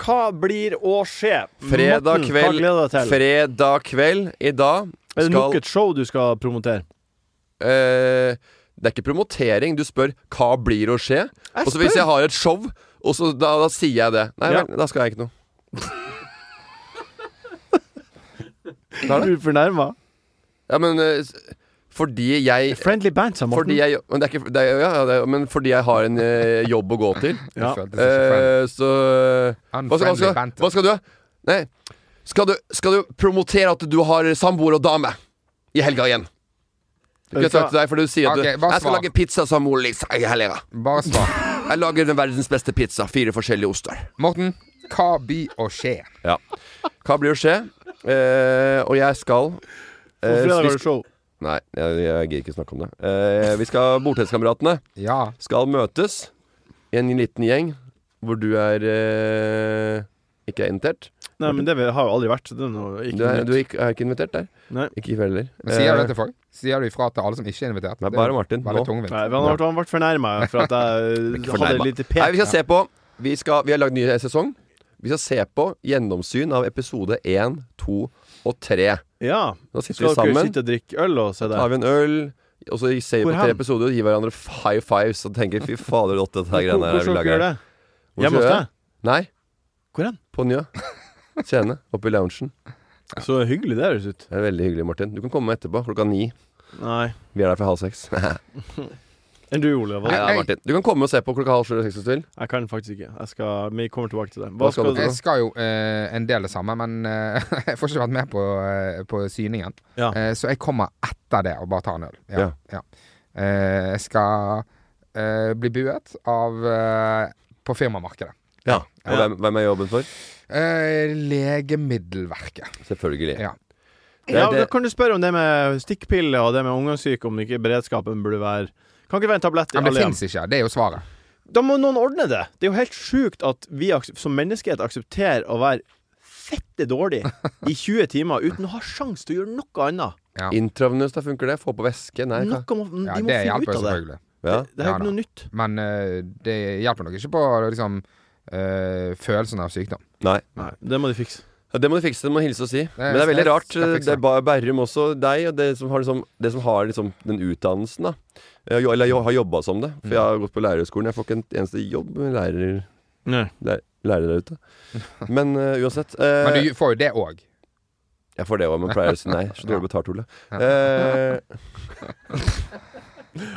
B: Uansett, hva blir å skje?
C: Fredag
B: Morten,
C: kveld,
B: Hva gleder du deg til?
C: fredag kveld i dag
B: Er det nok et show du skal promotere?
C: Eh, det er ikke promotering. Du spør 'hva blir å skje?'
B: Jeg
C: Og så hvis
B: spør.
C: jeg har et show, og så, da, da sier jeg det. Nei
B: Ja.
C: vel, da skal jeg ikke noe.
B: Er du fornærma?
C: Ja, men eh, s- fordi jeg
B: Friendly band, sa Morten.
C: fordi jeg, men, det er ikke, det er, ja, det er, men fordi jeg har en eh, jobb å gå til.
B: Ja.
C: Eh, så hva skal, hva,
E: Unfriendly
C: skal,
E: banter.
C: hva skal du? Nei. Skal du, skal du promotere at du har samboer og dame i helga igjen? Du kunne jeg sagt til deg, for du sier at
E: Ok,
C: du
E: bare
C: Jeg skal
E: svar.
C: lage pizza som Olis i helga.
E: Bare svar.
C: Jeg lager den verdens beste pizza. Fire forskjellige oster.
E: Morten, hva blir å skje?
C: Ja. Hva blir å skje? Eh, og jeg skal eh,
B: fredag
C: vi
B: har du
C: sk-
B: show.
C: Nei, jeg, jeg gidder ikke snakke om det. Eh, vi skal Bordtenniskameratene
E: Ja.
C: skal møtes i en liten gjeng hvor du er eh, ikke er invitert.
B: Nei, men det har jo aldri vært. Det er noe, ikke
C: Du er,
B: nytt.
C: du er, ikke, er ikke invitert der.
B: Nei.
C: Ikke Iver heller.
E: Men sier du
C: Eh,
E: det til folk? Sier du ifra til alle som ikke er invitert?
C: Nei,
E: Det er
C: bare Martin,
E: Veldig
C: nå.
E: tungvint.
B: Nei, men han ble, han ble fornærma for at jeg hadde
C: Ikke fornærma.
B: et lite pek.
C: Nei, vi skal se på Vi, skal, vi har lagd ny sesong. Vi skal se på gjennomsyn av episode 1, 2 og 3.
B: Ja.
C: Nå sitter
B: Skal
C: vi
B: dere
C: sammen,
B: sitte og drikke øl og se
C: tar
B: der?
C: vi en øl, og så ser vi
B: Hvor
C: på
B: hen?
C: tre episoder og gir hverandre f- high fives og tenker 'fy fader, det dette her
B: Hvor
C: greiene
B: hvor
C: her vi
B: skal dere
C: lager'.
B: gjøre det? Hjemme
C: skal
B: hos
C: vi gjøre
B: deg?
C: det? Nei,
B: Hvor hen?
C: på Njø. Scene. Oppe i loungen.
B: Så hyggelig det høres ut.
C: Det er veldig hyggelig, Martin. Du kan komme etterpå klokka ni.
B: Nei.
C: Vi er der fra halv seks. Nei
B: Enn du, Olav? hva-
C: da, Martin. Du kan komme og se på klokka halv sju eller seks hvis du vil.
B: Jeg kan faktisk ikke. Jeg skal, vi kommer tilbake til det.
C: Hva skal du
E: Jeg skal jo eh, en del det samme, men eh, jeg får ikke vært med på, eh, på syningen.
B: Ja.
E: Eh, så jeg kommer etter det og bare tar en øl. Ja,
C: Ja.
E: ja. Eh, jeg skal eh, bli buet av eh, på firmamarkedet.
C: Ja. Og hvem, hvem er jobben for?
E: Eh, legemiddelverket.
C: Selvfølgelig.
E: Ja.
C: Det er
B: Ja,
C: det-
B: da kan du spørre om det med stikkpiller og det med omgangssyke, om ikke beredskapen burde være Kan ikke det være en tablett i
E: Men det
B: alle hjem?
E: fins ikke. Det er jo svaret.
B: Da må noen ordne det! Det er jo helt sjukt at vi aksep- som menneskehet aksepterer å være fette dårlig i 20 timer uten å ha sjanse til å gjøre noe annet.
E: Ja.
C: Intravenøs, da funker det. Få på væske. Nei, hva?
B: Noe må, de må
E: Ja, det
B: finne ut
E: hjelper jo
B: av det.
E: selvfølgelig.
C: Ja.
B: Det er
E: Ja,
B: ikke noe nytt.
E: Men eh, det hjelper nok ikke på liksom, eh, følelsen av sykdom.
C: Nei.
B: Nei, det må de fikse.
C: Ja, Det må du fikse. Det må hilse og si. Men det
E: skal
C: er veldig
E: jeg-
C: rart.
E: skal jeg fikse.
C: Det er Ba- Berrum også, deg og det som har, liksom, det som har liksom, den utdannelsen, da. Eh, jo- Eller jo- har jobba som det. For jeg har gått på lærerskolen. Jeg får ikke en eneste jobb med lærer,
B: Nei.
C: lærer, lærer der ute. Men eh, uansett. eh,
E: Men du får jo det òg.
C: Jeg får det òg, men pleier å si nei. Så dårlig betalt, Ole.
E: Ja.
C: Eh,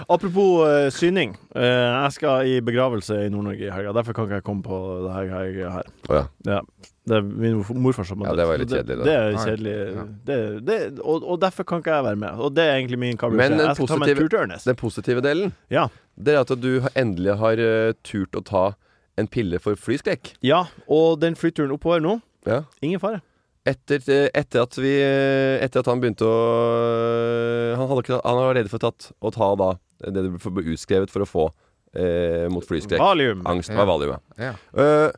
B: Apropos eh, syning. Eh, jeg skal i begravelse i Nord-Norge i helga. Derfor kan ikke jeg komme på det her. her- her.
C: Å ja.
B: Ja. Det er min morf- morfar som
C: Ja, det var litt kjedelig,
B: Det,
C: da.
B: det er
E: Nei.
B: kjedelig.
E: Ja.
B: Det, det, og, og derfor kan ikke jeg være med. Og det er egentlig min kabel.
C: Men den
B: Jeg skal ta meg en
C: positive-
B: tur til Ørnes.
C: den positive delen,
B: Ja.
C: det er at du har- endelig har eh, turt å ta en pille for flyskrekk.
B: ja, og den flyturen oppover nå,
C: Ja.
B: ingen fare.
C: Etter, eh, etter, at vi, eh, etter at han begynte å eh, Han, hadde ikke, han var redd for tatt, å ta da eh, det du ble utskrevet for å få eh, mot flyskrekk.
B: Valium.
C: Angst
E: Ja.
C: var valiumet.
E: Ja.
C: Eh,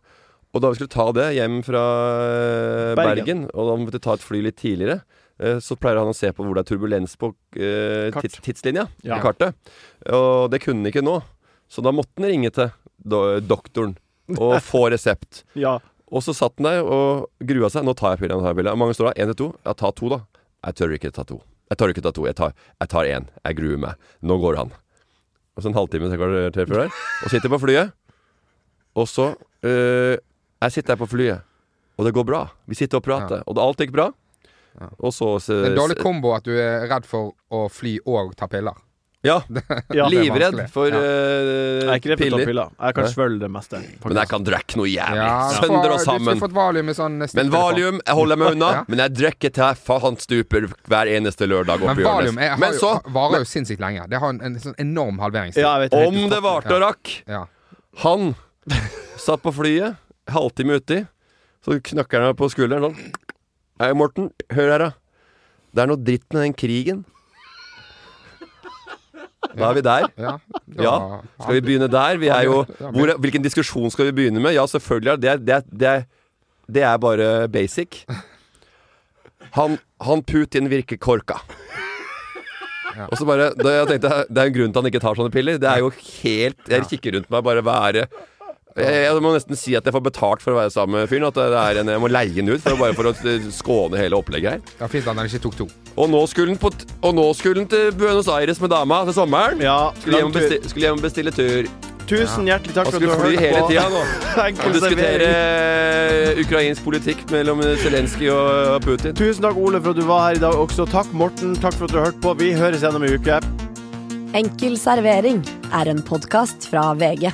C: og da vi skulle ta det hjem fra eh, Bergen,
B: Bergen.
C: og da måtte vi ta et fly litt tidligere, eh, så pleier han å se på hvor det er turbulens på eh,
B: Kart.
C: tids, tidslinja,
B: Ja.
C: i kartet. Og det kunne han ikke nå, så da måtte han ringe til do doktoren og få resept.
B: Ja.
C: Og så satt han der og grua seg. Nå tar jeg pilla. nå tar jeg pilla. Hvor mange står det? Én til to? Ja, ta to, da. Jeg tør ikke ta to. Jeg tør ikke ta to. Jeg tar jeg tar én. Jeg gruer meg. Nå går han. Og så en halvtime til kvarter til før der. Og sitter på flyet. Og så øh, Jeg sitter her på flyet, og det går bra. Vi sitter og prater, og det- alt gikk bra. Og så, eh, så
E: Det er en dårlig kombo at du er redd for å fly og ta piller.
C: Ja.
B: ja.
E: Liv.
C: Livredd for
E: Ja.
C: øh,
B: Jeg er ikke redd for å ta
C: piller.
B: piller. Jeg kan
C: Nei.
B: svølge det meste.
C: Men jeg kan drikke noe jævlig.
E: du får-
C: Sønder og
E: Du
C: sammen.
E: skulle fått valium med sånn
C: Men valium jeg holder meg unna.
E: Ja.
C: Men jeg drikker til faen stuper hver eneste lørdag.
E: Men
C: oppe i
E: valium
C: Ørnes.
E: er, har
C: men så,
E: jo, varer jo sinnssykt lenge. Det har en, en sånn enorm halveringstid.
B: Ja, jeg vet helt
C: om det varte og rakk
E: Ja.
C: Han satt på flyet, halvtime uti, så knakker han meg på skulderen sånn. Hei, Morten. Hør her, da. Det er noe dritt med den krigen. Da er vi der.
E: Ja. Da-
C: Ja. Skal vi begynne der? Vi er jo
E: Ja,
C: hvor, Hvilken diskusjon skal vi begynne med? Ja, selvfølgelig er det Det, det, det er bare basic. Han, han Putin virker korka.
E: Ja.
C: Og så bare da jeg tenkte, Det er en grunn til han ikke tar sånne piller. Det er jo helt Jeg kikker rundt meg, bare hva er det Jeg, jeg må nesten si at jeg får betalt for å være sammen med fyren. At det er en, jeg må leie den ut for å, bare for å eh, skåne hele opplegget her.
E: Ja, Fint at han ikke tok to.
C: Og nå skulle den, på, t- og nå skulle den til Buenos Aires med dama til sommeren. skulle, hjem
B: lang tur.
C: og besti, skulle hjem og bestille tur.
B: Tusen
C: Ja.
B: hjertelig takk
C: Han
B: for at du
C: skulle
B: har
C: fly
B: hørt
C: hele
B: på.
C: tida nå.
B: Tenk
C: Og
B: å
C: diskutere
B: servere.
C: eh, ukrainsk politikk mellom Zelenskyj og Putin.
B: Tusen takk, Ole, for at du var her i dag også. Takk, Morten. Takk for at du har hørt på. Vi høres igjen om en uke.
A: Enkel servering er en podkast fra VG.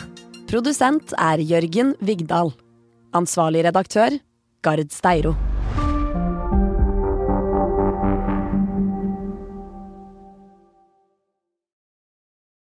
A: Produsent er Jørgen Vigdal. Ansvarlig redaktør Gard Steiro.